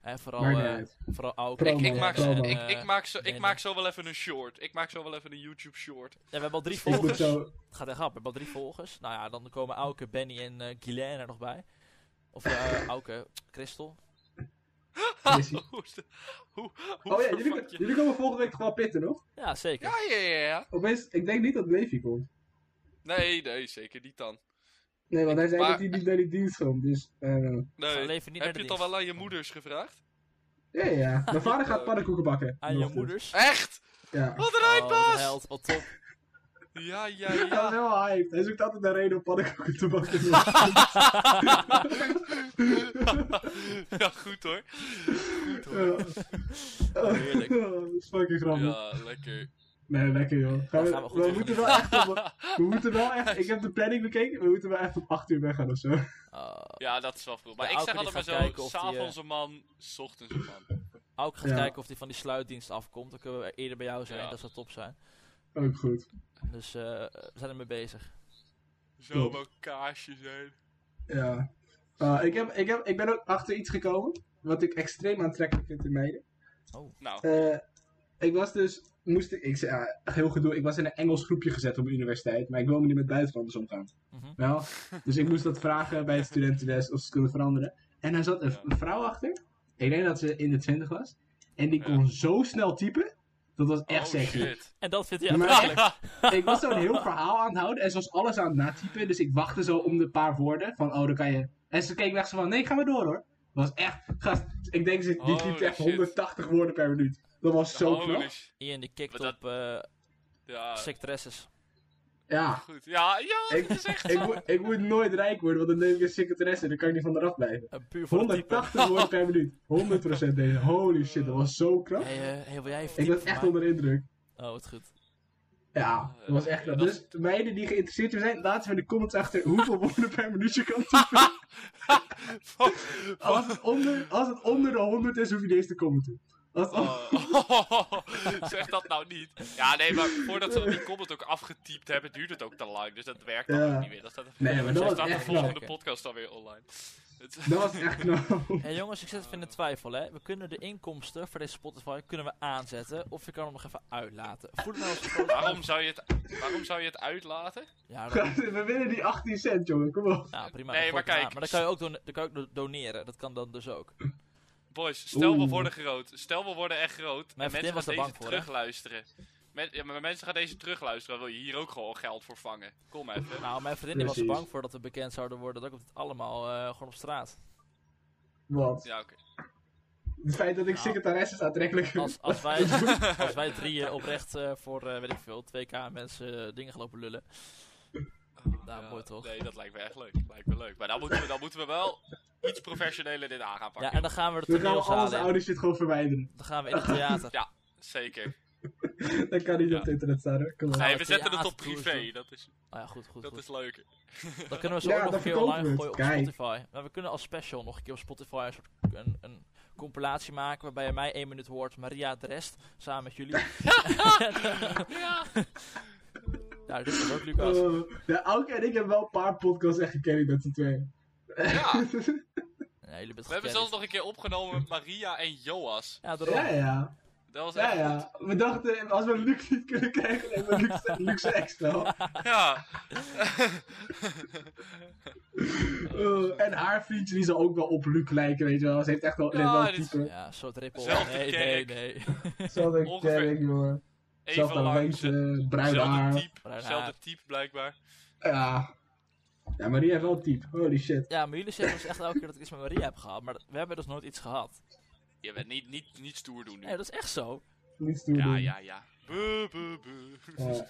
S1: En vooral,
S2: Maakt niet
S1: eh,
S2: uit.
S1: vooral ook.
S2: Promo,
S4: Ik, ik, maak, zo-
S2: promo.
S4: ik, ik, maak zo,
S1: nee,
S4: ik maak zo wel even een short. Ik maak zo wel even een YouTube short. <laughs>
S1: ja, we hebben al drie
S2: Ik moet
S1: volgers. <laughs>
S2: zo... Oh
S1: Het gaat echt hap. We hebben al drie volgers. Nou ja, dan komen Auke, Benny en eh Guylaine er nog bij. Of
S4: <laughs>
S1: eh Auke, Christel.
S2: Jesse.
S4: hoe, is de- hoe, hoe
S2: Oh ja, jullie,
S1: <laughs>
S4: vervang je-
S2: jullie komen volgende week toch wel pitten, nog?
S1: Ja, zeker.
S4: Ja, ja, ja, ja.
S2: Opeens, ik denk niet dat Levi komt.
S4: Nee, nee, zeker niet dan.
S2: Nee, want hij zei
S4: Maar-
S2: dat hij niet naar die dienst komt, dus... eh,
S1: Zal
S4: Nee.
S1: leven niet
S4: Heb
S1: naar de
S4: je het al
S1: dienst.
S4: wel aan je moeders gevraagd?
S2: Ja, ja, ja. Mijn vader
S1: <laughs>
S2: gaat pannenkoeken bakken.
S1: Aan je
S2: Nog goed.
S1: moeders.
S4: Echt?
S2: Ja.
S1: <laughs>
S4: Wat
S1: Oh,
S4: een
S1: wat een
S4: uitbaas!
S1: held. Wat top.
S4: ja, ja,
S2: Hij is
S4: ja.
S2: heel hyped. Hij zoekt altijd een reden om pannenkoeken te bakken.
S4: <laughs>
S1: <laughs>
S2: <laughs>
S4: ja, goed hoor. Goed hoor.
S2: Ja.
S1: <laughs> Oh, heerlijk.
S2: dat is fucking grappig.
S4: Ja, lekker.
S2: Nee, lekker joh. Gaan we,
S1: gaan we goed
S2: we
S1: doen.
S2: moeten wel echt op, we moeten
S1: <laughs>
S2: wel echt, ik heb de planning bekeken, we moeten wel echt om 8 uur weggaan of zo.
S1: Oh,
S4: Ja, dat is wel vroeg. Maar
S1: Ja,
S4: ik zeg
S1: Auken die
S4: altijd
S1: gaat
S4: maar
S1: kijken
S4: zo,
S1: of die,
S4: s'avonds
S2: eh,
S4: een man, s ochtends een man.
S1: Auke gaat
S2: Ja.
S1: kijken of hij van die sluitdienst afkomt. Dan kunnen we eerder bij jou zijn.
S4: Ja.
S1: Dat zou top zijn.
S2: Ook goed.
S1: Dus eh, we zijn ermee bezig.
S4: Zo wel kaasje zijn.
S2: Ja. Eh, ik, heb, ik, heb, ik ben ook achter iets gekomen, wat ik extreem aantrekkelijk vind in meiden.
S4: Nou,
S2: Eh, ik was dus, moest ik, ik zei, ja, heel gedoe, ik was in een Engels groepje gezet op de universiteit, maar ik wil me niet met buitenlanders omgaan.
S1: Mhm.
S2: Wel, dus ik moest dat vragen bij het studentendesk of ze het konden veranderen. En daar zat een,
S4: Ja.
S2: een vrouw achter, ik denk dat ze in de twintig was, en die
S4: Ja.
S2: kon zo snel typen, dat was echt
S4: oh
S2: sexy.
S4: shit.
S1: En dat vindt hij
S2: Maar-
S1: aantrekkelijk.
S2: ik was zo'n heel verhaal aan het houden en ze was alles aan het natypen. Dus ik wachtte zo om de paar woorden van, oh, dan kan je... En ze keek weg zo van, nee, ga maar door, hoor. Dat was echt... Gast, ik denk, ze, die
S4: Holy
S2: typt echt
S4: Oh, shit.
S2: 180 woorden per minuut. Dat was zo
S4: Holy
S2: knap.
S4: sh-
S1: Ian die kikt
S4: Maar dat- Ah.
S1: op eh
S4: Ja,
S1: secretresses.
S2: Ja.
S4: goed. Ja, ja,
S2: Ik,
S4: dat is echt
S2: ik, moet, ik moet nooit rijk worden, want dan neem ik een secretaresse en dan kan ik niet van eraf blijven.
S1: Een Eh, puur voor de type.
S2: 180 woorden per minuut. 100% deze. Holy shit, dat was zo knap.
S1: Hey, eh, hey, wil jij even
S2: Ik
S1: typen
S2: was
S1: voor
S2: echt
S1: mij?
S2: onder de indruk.
S1: Oh, wat goed.
S2: Ja, dat was echt knap. Dus meiden die geïnteresseerd zijn, laten we in de comments achter hoeveel <laughs> woorden per minuut je kan typen.
S4: <laughs> Fuck. <laughs>
S2: Als het onder, als het onder de 100 is, hoef je niet eens te commenten. Als het on-
S4: Oh, zeg dat nou niet. Ja, nee, maar voordat ze die comment ook afgetypt hebben, duurt het ook te lang. Dus dat werkt dan
S2: Ja.
S4: ook niet meer. Dat staat,
S2: Nee, maar dat
S4: dat
S2: was
S4: staat de
S2: echt
S4: volgende
S1: knap.
S4: podcast alweer online. Het-
S2: Dat was echt knap. <laughs>
S1: Hey jongens, ik zit even in de twijfel hè. We kunnen de inkomsten voor deze Spotify kunnen we aanzetten. Of je kan hem nog even uitlaten. Voel het nou als een
S4: waarom, zou je het, waarom zou je het uitlaten?
S1: Ja,
S2: <laughs>
S1: dat-
S2: We winnen die 18 cent, jongen. Kom op.
S1: ja, prima.
S4: Nee,
S1: dat gooi
S4: maar
S1: ik
S4: kijk.
S1: erna. Maar dan kan je ook, don- dan kan je ook do- doneren. Dat kan dan dus ook.
S4: Boys, stel we
S2: Oeh.
S4: worden groot. Stel we worden echt groot.
S1: Mijn
S4: en mensen
S1: vriendin was
S4: gaan
S1: er
S4: deze
S1: bang voor, hè?
S4: terugluisteren. Men- ja, maar mensen gaan deze terugluisteren. Dan wil je hier ook gewoon geld voor vangen. Kom even.
S1: Nou, mijn vriendin was er
S2: Precies.
S1: bang voor dat we bekend zouden worden. Dat ik het allemaal eh, gewoon op
S2: <laughs>
S1: straat.
S2: Wat?
S4: Ja, oké.
S2: Het feit dat ik
S1: Nou.
S2: secretaresse is aantrekkelijk.
S1: Als,
S2: <laughs>
S1: als, wij, als wij drieën oprecht eh, voor, eh, weet ik veel, 2K mensen eh, dingen gelopen lullen. Nou,
S4: Ja,
S1: mooi toch?
S4: Nee, dat lijkt me echt leuk. Lijkt me leuk. Maar dan moeten we, dan moeten we wel iets professioneler dit aan gaan
S1: Ja,
S4: pakken.
S1: en dan gaan we de
S2: Dan gaan we al onze
S1: toneelzaal in.
S2: oude shit gewoon verwijderen.
S1: Dan gaan we in het theater.
S4: Ja, zeker.
S2: <laughs> Dan kan niet
S4: Ja.
S2: op het internet staan hoor. Kom op.
S1: Ga je-
S4: Nee, we zetten het op
S1: theater doen,
S4: privé. Dat is,
S1: Nou ja, goed, goed,
S4: dat
S1: goed.
S4: is leuker.
S1: Dan kunnen we zo
S2: <laughs> Ja,
S1: ook nog
S2: dan
S1: een keer
S2: verkopen we
S1: online gooien
S2: het.
S1: op
S2: Kijk.
S1: Spotify. Maar we kunnen als special nog een keer op Spotify een soort een, een compilatie maken waarbij je mij één minuut hoort, Maria de rest, samen met
S4: <laughs>
S1: jullie.
S4: Ja.
S1: nou, dit is ook Lucas.
S2: Eh, ja, Auke en ik hebben wel een paar podcasts echt gekend met z'n tweeën.
S4: Ja,
S1: Nee, jullie bent
S4: we hebben
S1: gecatcht.
S4: zelfs nog een keer opgenomen met Maria en Joas.
S1: Ja, daarom.
S2: Ja, ja.
S4: Dat was
S2: Ja,
S4: echt ja,
S2: ja. We dachten, als we Luc niet kunnen krijgen, dan hebben we Luc-
S4: <laughs>
S2: Luc zijn ex wel.
S4: Ja.
S2: Eh, en haar vriendje die zal ook wel op Luc lijken, weet je wel. Ze heeft echt wel, ze heeft
S4: Ja,
S2: wel een
S4: dit is-
S2: type.
S1: Ja, een soort ripple.
S4: Zelfde
S1: nee, nee,
S4: kerk.
S1: nee.
S2: Zelfde
S4: Ongeveer.
S2: kerk, jongen.
S4: Even
S2: Zelfde
S4: lang.
S2: lengte, bruin
S4: Zelfde
S2: haar.
S4: type,
S1: Bruin
S4: zelfde
S1: haar.
S4: type blijkbaar.
S2: Ja. Ja, maar die heeft wel een type. Holy shit.
S1: Ja, maar jullie zeggen dus echt elke keer dat ik iets met Maria heb gehad, maar we hebben dus nooit iets gehad.
S4: Je bent niet, niet, niet stoer doen nu.
S1: Nee, dat is echt zo.
S2: Niets doen.
S4: Ja,
S2: doen.
S4: ja, ja. Buh, buh, buh.
S2: Ja.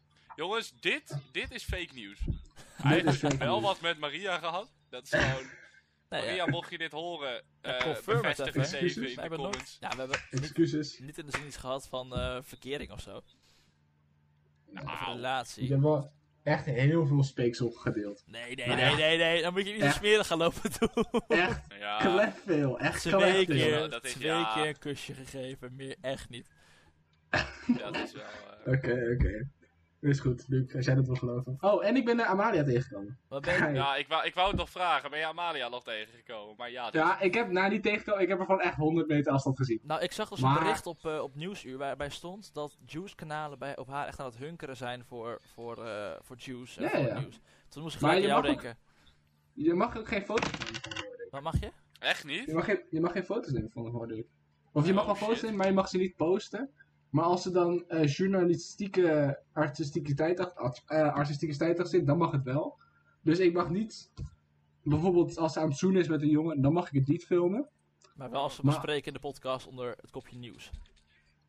S4: <laughs> Jongens, dit, dit is fake
S2: <laughs>
S4: news.
S2: is
S4: Hij heeft
S2: fake
S4: wel
S2: news.
S4: wat met Maria gehad. Dat is gewoon...
S1: Nee,
S4: Maria,
S1: ja.
S4: mocht je dit horen,
S1: Ja,
S4: eh
S1: confirm het
S4: bevestig
S1: even,
S4: het
S2: hè.
S4: even in
S1: We
S4: de
S1: hebben nooit,
S4: comments.
S1: ja, we hebben niet,
S2: Excuses.
S1: niet in de zin iets gehad van eh, verkering of zo. Of
S4: Au.
S2: Ik
S1: relatie.
S2: heb wel echt heel veel speeksel gedeeld.
S1: Nee, nee,
S2: Nou ja.
S1: nee, nee, nee. Dan moet je niet zo
S2: Ja.
S1: smerig gaan lopen doen.
S2: Echt
S4: Nou,
S2: <laughs>
S4: Ja.
S2: klef veel. Echt
S1: Twee
S2: klef veel.
S4: Ja,
S1: keer,
S4: Oh, dat is-
S1: twee
S4: ja.
S1: keer een kusje gegeven. Meer echt niet.
S4: Dat is wel. eh,
S2: Oké, oké. Is goed, Luc, als jij dat wil geloven. Oh, en ik ben naar Amalia tegengekomen.
S1: Wat ben je?
S2: Hey.
S4: Ja, ik wou, ik wou het nog vragen. Ben je Amalia nog tegengekomen? Maar ja, dat-
S2: Ja, ik heb na die tegenkomen, ik heb er gewoon echt 100 meter afstand gezien.
S1: Nou, ik zag dus
S2: Maar-
S1: een bericht op, eh, op Nieuwsuur waarbij stond dat Juice-kanalen bij, op haar echt aan het hunkeren zijn voor, voor, eh, voor Juice en
S2: Ja,
S1: voor
S2: ja.
S1: Nieuws. Toen moest ik
S2: Maar
S1: gelijk aan
S2: je
S1: jou
S2: mag ook-
S1: denken.
S2: Je mag ook geen foto's
S1: Wat mag je?
S4: echt
S2: Je
S4: niet.
S2: mag geen, je mag geen foto's nemen van hem, hoorde ik. Of je mag wel
S4: Oh,
S2: foto's
S4: shit.
S2: nemen, maar je mag ze niet posten. Maar als er dan eh, journalistieke artisticiteit, ach- art- eh, artisticiteit achter zit, dan mag het wel. Dus ik mag niet... Bijvoorbeeld als ze aan het zoenen is met een jongen, dan mag ik het niet filmen.
S1: Maar wel als we
S2: Maar-
S1: bespreken in de podcast onder het kopje nieuws.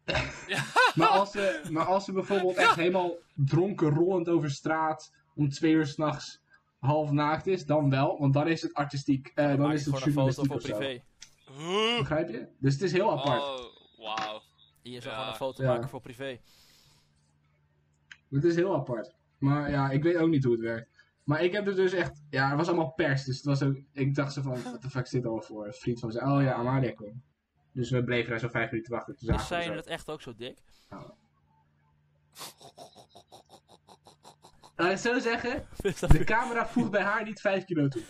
S1: <laughs>
S2: Maar als ze, maar als ze bijvoorbeeld echt helemaal dronken, rollend over straat... om twee uur s'nachts half naakt is, dan wel. Want dan is het artistiek. eh, dan
S1: Maak
S2: is
S1: je
S2: het
S1: gewoon een foto
S2: journalistiek
S1: voor
S2: of zo.
S1: privé.
S4: Huh?
S2: Begrijp je? Dus het is heel apart.
S4: Oh, wauw.
S1: Hier zou
S4: Ja.
S1: gewoon een foto
S2: Ja.
S1: maken voor privé.
S2: Het is heel apart. Maar ja, ik weet ook niet hoe het werkt. Maar ik heb er dus echt... Ja, het was allemaal pers. Dus het was ook, ik dacht zo van... Wat de fuck is dit al voor? Een vriend van zei... Oh ja, Amalia komt. Dus we bleven daar zo vijf minuten wachten. Toen
S1: Is
S2: zagen
S1: zij
S2: we
S1: in
S2: zo.
S1: het echt ook zo dik? <laughs>
S2: Laat ik het zo Eh, zeggen.
S1: Is dat-
S2: De camera voegt bij haar niet vijf
S1: <laughs>
S2: kilo toe.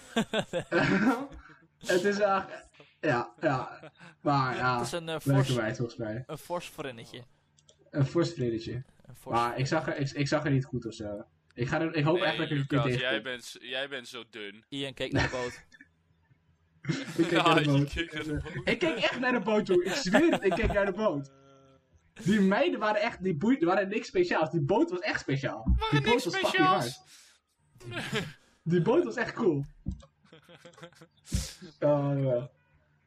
S2: het is echt... Ja, ja. Maar
S1: Het
S2: ja...
S1: is een, eh,
S2: Leuke
S1: fors,
S2: meid volgens mij.
S1: een fors vriendinnetje.
S2: Een fors vriendinnetje.
S1: Een fors-
S2: Maar ik zag, er, ik, ik zag er niet goed of zo. Ik, ga er, ik hoop echt
S4: Nee,
S2: dat ik er een keer
S4: Lucas,
S2: tegen
S4: jij
S2: kom.
S4: bent, s- jij bent zo dun.
S1: Ian keek naar de boot.
S2: Ik keek naar de
S4: <laughs> Ja, je
S2: boot.
S4: keek naar de boot.
S2: Ik keek echt naar de boot, joh. Ik zweer het, ik keek naar de boot. Die meiden waren echt, die boeien, waren niks speciaals. Die boot was echt speciaal. die
S4: Waren
S2: boot
S4: niks
S2: was fucking
S4: speciaals.
S2: hard. Die boot was echt
S4: <laughs>
S2: cool. Oh, ja.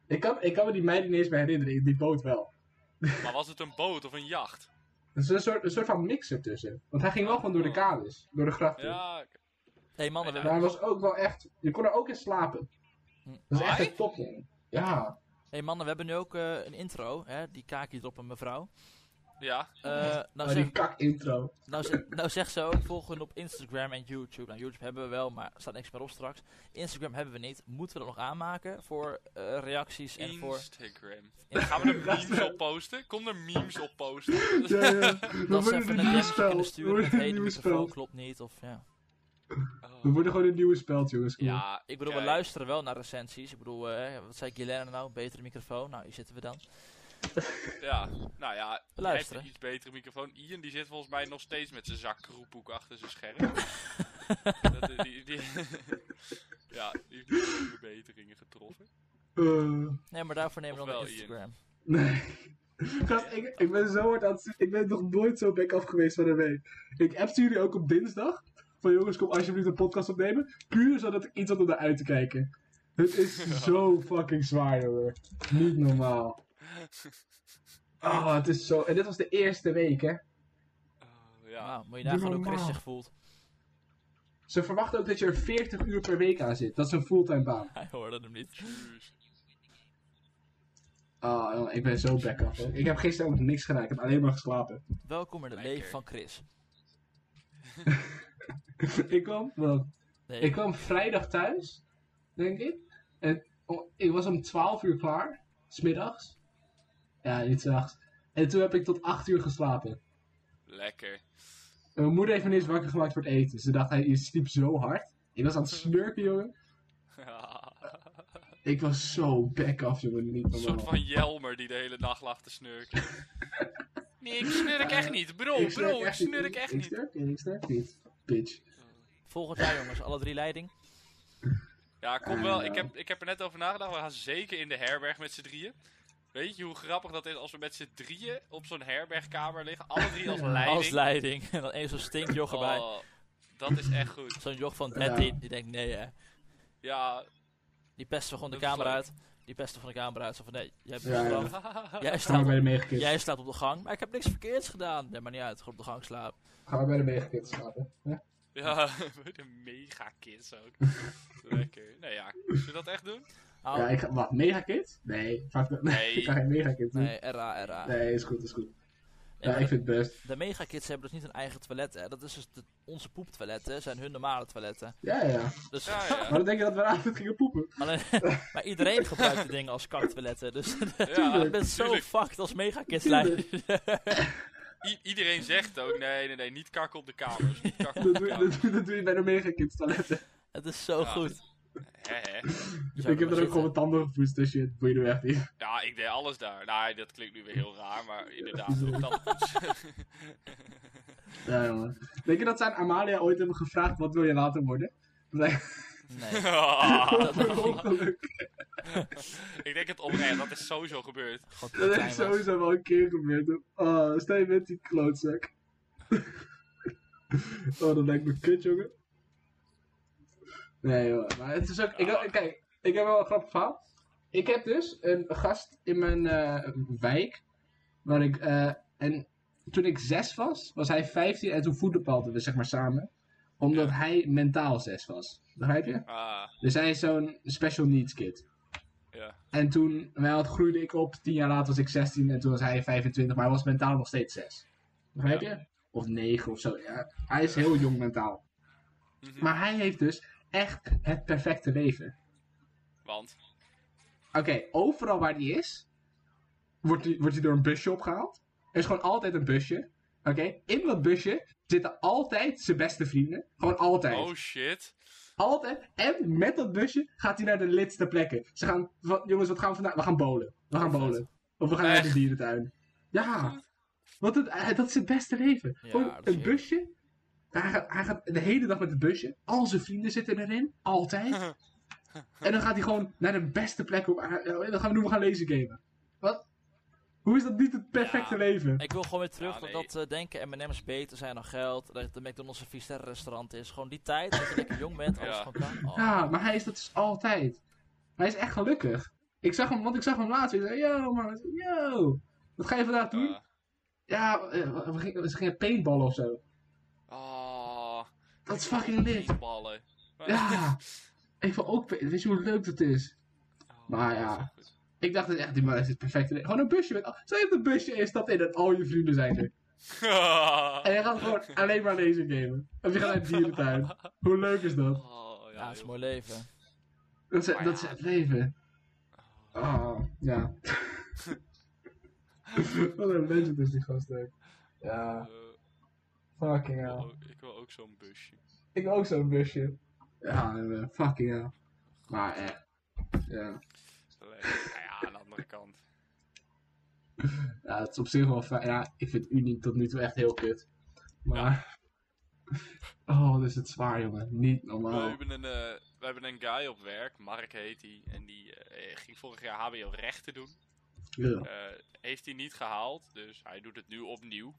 S2: ik, kan, ik kan me die meiden niet eens meer herinneren, die boot wel.
S4: Maar was het een boot of een
S2: Er
S4: jacht?
S2: is Dus een soort, een soort van mix ertussen. Want hij ging wel gewoon door de
S1: Oh.
S2: kades, door de grachten.
S4: Ja, ik-
S1: Hé hey, mannen, we
S2: Maar hij was ook wel echt, je kon er ook in slapen. Dat is echt
S4: Hoi?
S2: een topding.
S1: Oh,
S2: Ja.
S1: Hey mannen, we hebben nu ook eh, een intro, hè? die kaakje erop een mevrouw.
S4: ja.
S1: Eh, nou,
S2: Oh, die
S1: zeg,
S2: kak
S1: <laughs>
S2: intro.
S1: nou, zeg, nou zeg ze ook, volgen op Instagram en YouTube. Nou, YouTube hebben we wel, maar er staat niks meer op straks. Instagram hebben we niet. Moeten we dat nog aanmaken voor eh, reacties en voor...
S4: Instagram. Gaan we
S2: <laughs>
S4: er memes op posten? Kom er memes op posten.
S2: Ja, ja. <laughs> We
S1: Dat ze
S2: worden
S1: even
S2: een
S1: een
S2: nieuw
S1: DM'tje
S2: spel.
S1: kunnen
S2: We
S1: sturen met
S2: worden
S1: hey,
S2: een
S1: de
S2: nieuw
S1: microfoon
S2: spel.
S1: klopt niet. Of, ja.
S2: We worden gewoon een nieuwe spel, jongens. Kom op.
S4: Ja,
S1: Ik bedoel, we
S4: Oh. kijk.
S1: luisteren wel naar recensies. Ik bedoel, eh, wat zei Guilaine nou? Betere microfoon? Nou, hier zitten we dan.
S4: Ja, nou ja,
S1: We
S4: hij heeft
S1: luisteren.
S4: een iets betere microfoon. Ian die zit volgens mij nog steeds met zijn zak kroephoek achter zijn
S1: <laughs>
S4: scherm. dat, eh, die, die, <laughs> ja, die heeft niet veel verbeteringen getroffen. <laughs>
S2: Eh.
S1: Nee, maar daarvoor nemen we dan
S4: Ofwel,
S1: de Instagram.
S2: Nee. <laughs> Gast, ik, ik ben zo hard aan het... Ik ben nog nooit zo back af geweest van een week. Ik appte jullie ook op dinsdag. Van jongens, kom alsjeblieft een podcast opnemen. Puur zodat ik iets had om naar uit te kijken. Het is zo fucking zwaar, hoor. Niet normaal. Ah, het is zo... En dit was de eerste week, hè.
S4: Oh,
S1: Ja.
S4: ja.
S1: Nou, moet je nagaan hoe Chris
S2: normaal.
S1: zich voelt.
S2: Ze verwachten ook dat je er 40 uur per week aan zit. Dat is een fulltime baan.
S1: Hij hoorde hem niet.
S4: Jeez.
S2: Ah, jongen, ik ben zo back af. hoor. Ik heb gisteren ook niks gedaan. Ik heb alleen maar geslapen. <laughs>
S1: Welkom in het
S4: Lekker.
S1: leven van Chris.
S2: ik kwam, wel,
S1: Nee,
S2: ik kwam vrijdag thuis, denk ik. En o- ik was om 12 uur klaar. Smiddags. Ja, niet 's nachts. En toen heb ik tot 8 uur geslapen.
S4: Lekker. <laughs>
S2: En Mijn moeder heeft me ineens wakker gemaakt voor het eten. Ze dacht, hij je sliep zo hard. Ik was aan het snurken, jongen. Ik was zo back af, jongen. Niet
S4: Een soort
S2: normaal.
S4: van Jelmer die de hele dag lag te snurken. <laughs> Nee, ik snurk echt niet. Bro,
S2: Ik snurk
S4: bro, ik snurk echt
S2: Ik
S4: niet.
S2: snurk niet, ik snurk niet. Bitch.
S1: Volgend jaar jongens, alle drie leiding.
S4: Ja, kom wel. Ik heb, ik heb er net over nagedacht. We gaan zeker in de herberg met z'n drieën. Weet je hoe grappig dat is als we met z'n drieën op zo'n herbergkamer liggen? Alle drie als leiding.
S1: Als leiding. <laughs> En dan één zo'n stinkjoch erbij.
S4: Oh, dat is echt goed.
S1: Zo'n joch van
S2: Ja.
S1: 13. Die denkt, nee hè.
S4: Ja.
S1: Die pesten gewoon de
S4: Dat is
S1: camera
S4: leuk.
S1: uit. Die pesten van de camera uit. Zo van, nee, jij, hebt
S2: Ja,
S1: geslapen. jij,
S2: Gaan we
S1: staat
S2: bij
S1: op,
S2: de meegekipt.
S1: jij staat op de gang. Maar ik heb niks verkeerds gedaan. Nee, maar niet uit. Gewoon op de gang slapen.
S2: Gaan we bij de meegekipt slapen. hè?
S4: <laughs> Oh. Ja, <laughs> met een mega kiss ook. <laughs> Lekker. Nou ja, zullen we dat echt doen?
S1: Au.
S2: Ja, ik ga, wat, megakit? Nee, vaak, nee,
S4: Nee.
S2: <laughs> ik ga geen megakit doen. Nee.
S1: Nee, RA, RA.
S2: is goed, is goed.
S1: Nee,
S2: Ja,
S1: maar
S2: ik vind het best.
S1: de, de megakids hebben dus niet hun eigen toilet. Hè. Dat is dus de- onze poeptoiletten zijn hun normale toiletten.
S2: Ja, ja.
S1: Dus
S4: Ja, ja.
S2: Maar dan denk je dat we altijd gingen poepen.
S1: <laughs> alleen, <laughs> maar iedereen gebruikt die dingen als kaktoiletten. Dus <laughs>
S4: ja
S1: ik ben zo
S4: tuurlijk.
S1: fucked als megakids leider.
S4: I- iedereen zegt ook, nee, nee, nee, niet kakken op de kamers. Niet kakken op
S2: Dat
S4: de <laughs>
S2: doe, je-
S4: kamers.
S2: dat, doe- dat doe je bij de megakit toiletten.
S1: Het is zo
S4: Ja,
S1: goed.
S4: Hè, hè.
S1: Zo,
S2: ik heb
S1: maar
S2: er ook gewoon mijn
S1: zitten.
S2: tanden gepoetst en shit. Boeien er echt niet.
S4: Ja, ik deed alles daar. Nou, dat klinkt nu weer heel raar,
S2: <laughs>
S4: maar inderdaad, ook dat.
S2: Ja, jongen. Denk je dat ze aan Amalia ooit hebben gevraagd, wat wil je later worden? Dat is
S1: Nee.
S2: echt een ongeluk.
S4: Ah. ik denk het oprecht, dat is sowieso gebeurd.
S1: God, hoe
S2: Dat
S1: klein
S2: is
S1: was.
S2: sowieso wel een keer gebeurd. Oh, sta je met die klootzak. <laughs> Oh, dat lijkt me kut, jongen. Nee, joh. Maar het is ook... Ik, heb- kijk, ik heb wel een grappig verhaal. Ik heb dus een gast in mijn eh, wijk. Waar ik... eh, en toen ik zes was, was hij 15 en toen voetbalden we zeg maar samen. Omdat
S4: Ja.
S2: hij mentaal zes was. Begrijp je?
S4: Ah,
S2: Dus hij is zo'n special needs kid.
S4: ja.
S2: En toen wel, groeide ik op. Tien jaar later was ik 16 en toen was hij 25, maar hij was mentaal nog steeds 6. Begrijp
S4: Ja.
S2: je? Of 9 of zo. Ja, hij is heel jong mentaal.
S4: Mhm.
S2: Maar hij heeft dus echt het perfecte leven.
S4: Want,
S2: Oké, overal waar hij is, wordt hij, wordt hij door een busje opgehaald. Er is gewoon altijd een busje. Oké, in dat busje zitten altijd zijn beste vrienden. Gewoon altijd.
S4: oh shit.
S2: Altijd. En met dat busje gaat hij naar de lidste plekken. Ze gaan, wat, jongens, wat gaan we vandaag? We gaan bowlen. We gaan
S1: Oh, vet.
S2: bowlen. Of we gaan naar de
S4: Echt?
S2: dierentuin.
S4: Ah.
S2: Ja. Want het, eh, dat is het beste leven.
S1: Ja,
S2: Gewoon
S1: dat is
S2: een
S1: heerlijk.
S2: busje. Hij gaat, hij gaat de hele dag met het busje. Al zijn vrienden zitten erin. Altijd.
S1: <laughs>
S2: en dan gaat hij gewoon naar de beste plek. Op, aarde. Eh, dan gaan we doen, we gaan lezen gamen. Wat? Hoe is dat niet het perfecte
S4: Ja.
S2: leven?
S1: Ik wil gewoon weer terug
S4: Ja,
S1: dat-
S4: nee.
S1: dat eh, denken MM's beter zijn dan geld. Dat de McDonald's een vies restaurant is. Gewoon die tijd dat je lekker jong bent, alles
S4: Ja.
S1: gewoon kan. Oh.
S2: Ja, maar hij is dat dus altijd. Hij is echt gelukkig. Ik zag hem, want ik zag hem laatst. Ik zei, yo man, yo. Wat ga je vandaag doen?
S4: Ah.
S2: Ja, eh, we gingen, ze gingen paintballen of zo.
S4: Ah,
S2: Dat is fucking lit.
S4: ballen. Ah,
S2: Ja. Ik vond ook, weet je hoe leuk dat is? <laughs> Maar ja. Ik dacht, echt, die man heeft het perfecte leven. Gewoon een busje. Met, al- stel je hebt een busje en stapt in en al je vrienden zijn er.
S4: Ah.
S2: En je gaat gewoon alleen maar deze gamen. Of je gaat naar de dierentuin. Hoe leuk is dat?
S4: <laughs> Oh,
S1: Ja,
S4: ja,
S1: het is een
S4: joh.
S1: mooi leven.
S2: Dat is,
S4: Maar
S2: dat is
S4: ja.
S2: het leven. Oh, ja. Wat een legend is die gast ook. Ja,
S4: Eh,
S2: fucking
S4: ik wil
S2: hell.
S4: ook- ik wil ook zo'n busje.
S2: Ik ook zo'n busje. Ja, eh, fucking hell. Maar echt. Ja.
S4: Lekker. Nou ja, aan de andere
S2: <laughs>
S4: kant.
S2: ja, het is op zich wel fijn. Ja, ik vind Unie tot nu toe echt heel kut. Maar... Oh, wat is het zwaar, jongen. Niet
S4: We,
S2: normaal.
S4: hebben een, eh, we hebben een guy op werk, Mark heet hij, en die eh, ging vorig jaar HBO rechten doen.
S2: Ja.
S4: Eh, heeft hij niet gehaald, dus hij doet het nu opnieuw.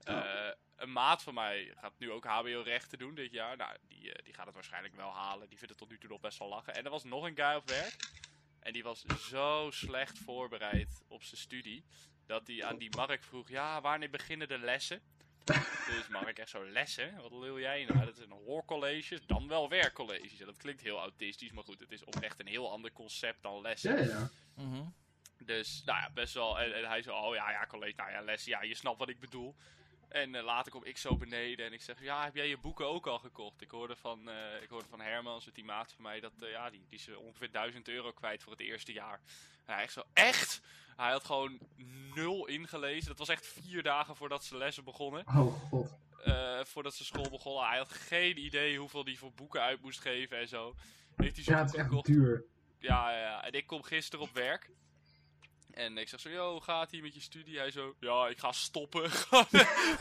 S4: Eh, een maat van mij gaat nu ook HBO rechten doen dit jaar. Nou, die, eh, die gaat het waarschijnlijk wel halen. Die vindt het tot nu toe nog best wel lachen. En er was nog een guy op werk. En die was zo slecht voorbereid op zijn studie. Dat hij aan die Mark vroeg: Ja, wanneer beginnen de lessen? dus Mark echt zo: Lessen? Wat lul jij nou? Dat is een hoorcollege, dan wel werkcolleges. En dat klinkt heel autistisch, maar goed, het is oprecht een heel ander concept dan lessen.
S2: Ja, ja.
S1: Mhm.
S4: Dus, nou ja, best wel. En, en hij zo, oh ja, ja, college, nou ja, les, ja, je snapt wat ik bedoel. En eh, later kom ik zo beneden en ik zeg, ja, heb jij je boeken ook al gekocht? Ik hoorde van, eh, ik hoorde van Hermans, die maat van mij, dat, eh, ja, die, die is eh, ongeveer 1000 euro kwijt voor het eerste jaar. En hij echt zo, echt? Hij had gewoon nul ingelezen. Dat was echt vier dagen voordat zijn lessen begonnen.
S2: Oh god.
S4: eh, voordat zijn school begon. Hij had geen idee hoeveel hij voor boeken uit moest geven en zo. Heeft hij zo'n
S2: Ja, het is
S4: boek
S2: echt
S4: gekocht.
S2: duur.
S4: Ja, ja, ja. En ik kom gisteren op werk. En ik zeg zo, yo, hoe gaat ie met je studie? Hij zo, ja, ik ga stoppen. <laughs>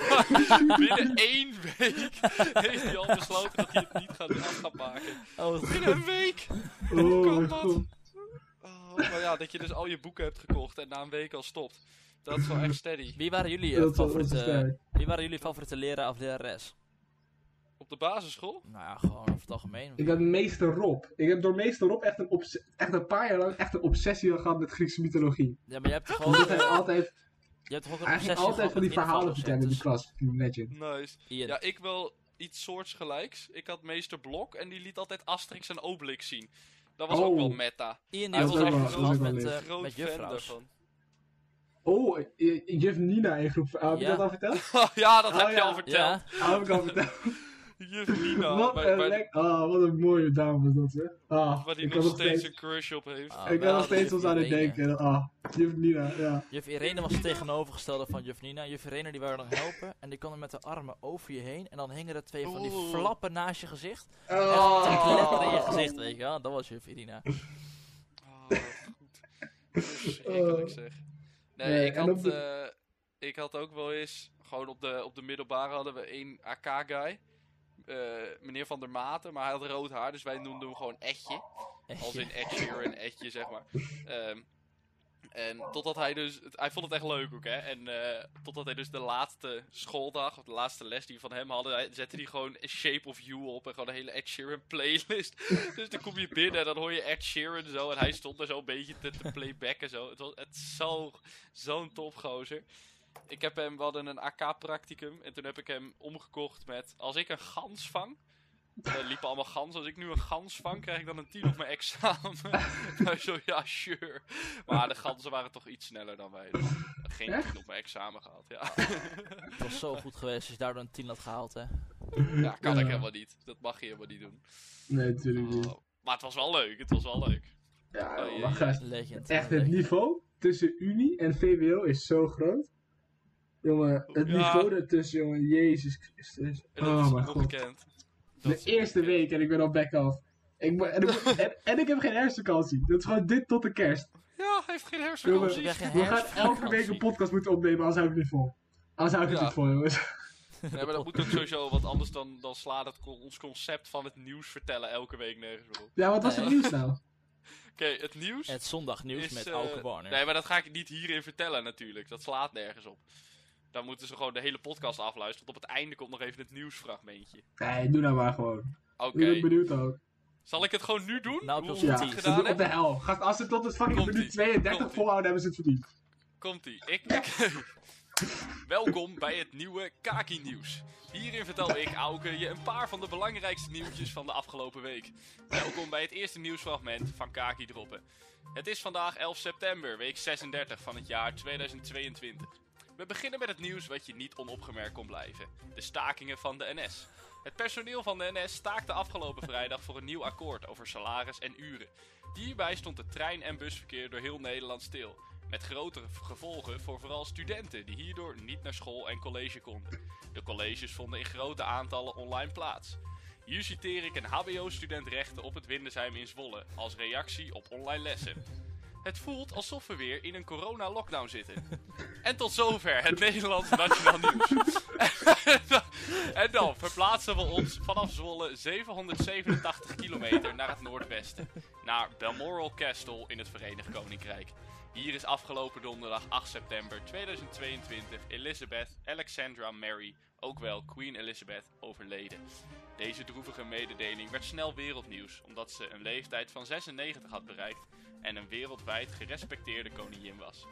S4: Binnen één week heeft hij al besloten dat hij het niet gaat, af gaat maken.
S1: Oh,
S4: Binnen een week!
S2: Oh
S4: kan
S2: mijn
S4: dat?
S2: god.
S4: Oh, maar ja, dat je dus al je boeken hebt gekocht en na een week al stopt. Dat is wel echt steady.
S1: wie waren jullie eh,
S2: Dat is wel dat is
S1: favoriete,
S2: sterk.
S1: wie waren jullie favoriete leraar of lerares?
S4: Op de basisschool?
S1: Nou ja, gewoon over het algemeen.
S2: Ik had meester Rob. Ik heb door meester Rob echt een, obs- echt een paar jaar lang echt een obsessie gehad met Griekse mythologie.
S1: Ja, maar je hebt toch
S2: Omdat
S1: gewoon,
S2: hij altijd,
S1: je hebt toch ook Oh. een
S2: hij ging
S1: obsessie
S2: altijd
S1: gehad
S2: van die
S1: met
S2: verhalen
S1: invalshoek,
S2: vertellen in de
S1: dus-
S2: klas. Legend.
S4: Nice.
S1: Ian.
S4: Ja, ik wel iets soortgelijks. Ik had meester Blok en die liet altijd Asterix en Obelix zien. Dat was
S2: Oh.
S4: ook wel meta.
S1: Ian
S2: Dat
S1: die
S2: is
S1: was
S2: ook
S1: echt
S2: wel- dat is
S1: verrast
S2: ook wel
S1: met,
S2: leuk.
S1: eh,
S4: Groot
S1: met
S4: fan
S1: juffrouws.
S4: daarvan. <laughs>
S2: Oh, eh, juf Nina in groep... ah, heb je
S1: Ja.
S2: dat al
S4: <laughs>
S2: verteld?
S4: ja, dat
S2: Oh,
S4: heb je
S2: ja.
S4: al verteld.
S1: Ja,
S2: Ah, heb ik al verteld.
S4: Juf Nina.
S2: wat,
S4: waar-
S2: een
S4: waar-
S2: lek- ah, wat een mooie dame was dat, zeg. Ah,
S4: waar hij
S2: ik
S4: nog
S2: kan
S4: steeds, een crush op heeft.
S1: Ah,
S2: Ik
S1: wij
S2: kan nog
S1: hadden
S2: steeds
S1: juf
S2: ons aan het
S1: Irene.
S2: denken. Ah, juf Nina, ja.
S1: Juf Irene was het tegenovergestelde van Juf Nina. Juf Irene die wou je dan helpen en die kon er met haar armen over je heen. En dan hingen er twee van die
S4: Oeh.
S1: flappen naast je gezicht. Echt
S4: Oh.
S1: een letter in je
S2: Ah.
S1: gezicht, weet je wel. Dat was Juf Irina.
S4: Ah, wat goed. Verschrikkelijk
S2: Oh.
S4: zeg. Nee,
S2: Nee,
S4: ik,
S2: en
S4: had,
S2: op de-
S4: eh, ik had ook wel eens, gewoon op de, op de middelbare hadden we één AK-guy. Eh, meneer Van der Maten, maar hij had rood haar, dus wij noemden hem gewoon Etje. Als in Ed Sheeran, Edje, zeg maar. Ehm, en totdat hij dus... het- Hij vond het echt leuk ook, hè. En eh, totdat hij dus de laatste schooldag, of de laatste les die we van hem hadden... Hij, zette hij gewoon Shape of You op en gewoon een hele Ed Sheeran playlist. <laughs> dus dan kom je binnen en dan hoor je Ed Sheeran zo. En hij stond daar zo een beetje te, te playbacken zo. Het was het is zo, zo'n topgozer. Ik heb hem, we hadden een AK-practicum. En toen heb ik hem omgekocht met... Als ik een gans vang... Er Eh, liepen allemaal ganzen. Als ik nu een gans vang, krijg ik dan een 10 op mijn examen.
S2: <laughs>
S4: <laughs> nou, zo, ja, sure. Maar de ganzen waren toch iets sneller dan wij. Dus geen 10 op mijn examen gehad,
S2: <laughs>
S4: ja.
S1: Het was zo goed geweest als je daardoor een 10 had gehaald, hè.
S4: ja, kan
S2: Ja.
S4: ik helemaal niet. Dat mag je helemaal niet doen.
S2: Nee, natuurlijk niet.
S4: Oh, Maar het was wel leuk, het was wel leuk.
S2: Ja,
S4: Oh, jee.
S2: maar gast,
S1: Legend.
S2: Echt, het
S1: Legend.
S2: niveau tussen Unie en VWO is zo groot. Jongen, het
S4: Ja.
S2: niveau ertussen, jongen, Jezus Christus.
S4: En dat
S2: Oh, mijn
S4: is
S2: god.
S4: onbekend. Dat
S2: De
S4: is
S2: eerste
S4: onbekend.
S2: week en ik ben al back off. Ik ben- en, ik, en, en ik heb geen herfstvakantie. Dat is gewoon dit tot de kerst.
S4: Ja, hij heeft geen
S2: Jongen,
S1: Ik
S4: hersenvakantie.
S1: ben geen
S2: we gaan elke
S1: herfstvakantie.
S2: week een podcast moeten opnemen, anders hou ik het niet vol. Anders hou ik het
S4: Ja.
S2: niet vol, jongens.
S4: Nee, maar dat moet ook sowieso, want anders dan, dan slaat het, con- ons concept van het nieuws vertellen elke week nergens op.
S2: Ja, wat was het
S1: Nee.
S2: nieuws nou?
S4: Oké, het nieuws
S1: Het zondagnieuws
S4: is,
S1: met
S4: eh,
S1: Auke Warner.
S4: Nee, maar dat ga ik niet hierin vertellen natuurlijk. Dat slaat nergens op. Dan moeten ze gewoon de hele podcast afluisteren. Want op het einde komt nog even het nieuwsfragmentje.
S2: Nee, doe nou maar gewoon.
S4: Oké.
S2: Ik ben benieuwd ook.
S4: Zal ik het gewoon nu doen?
S1: Nou,
S4: Hoe
S1: tot
S4: we
S2: Ja,
S4: het
S1: die
S2: dat
S4: gedaan
S2: is op de
S4: hebben?
S2: hel. Gast, als het tot het fucking
S4: Komt-ie.
S2: minuut 32
S4: Komt-ie.
S2: volhouden, hebben ze het verdiend.
S4: Komt-ie. Ik... <laughs> Welkom bij het nieuwe Kaki Nieuws. Hierin vertel ik, Auke, je een paar van de belangrijkste nieuwtjes van de afgelopen week. Welkom bij het eerste nieuwsfragment van Kaki Droppen. Het is vandaag 11 september, week 36 van het jaar 2022. We beginnen met het nieuws wat je niet onopgemerkt kon blijven. De stakingen van de NS. Het personeel van de NS staakte afgelopen vrijdag voor een nieuw akkoord over salaris en uren. Hierbij stond het trein- en busverkeer door heel Nederland stil. Met grote gevolgen voor vooral studenten die hierdoor niet naar school en college konden. De colleges vonden in grote aantallen online plaats. Hier citeer ik een HBO-student rechten op het Windesheim in Zwolle als reactie op online lessen. Het voelt alsof we weer in een corona-lockdown zitten. En tot zover het Nederlands Nationaal Nieuws. en dan verplaatsen we ons vanaf Zwolle 787 kilometer naar het noordwesten. Naar Balmoral Castle in het Verenigd Koninkrijk. Hier is afgelopen donderdag 8 september 2022 Elizabeth Alexandra Mary, ook wel Queen Elizabeth, overleden. Deze droevige mededeling werd snel wereldnieuws omdat ze een leeftijd van 96 had bereikt en een wereldwijd gerespecteerde koningin was.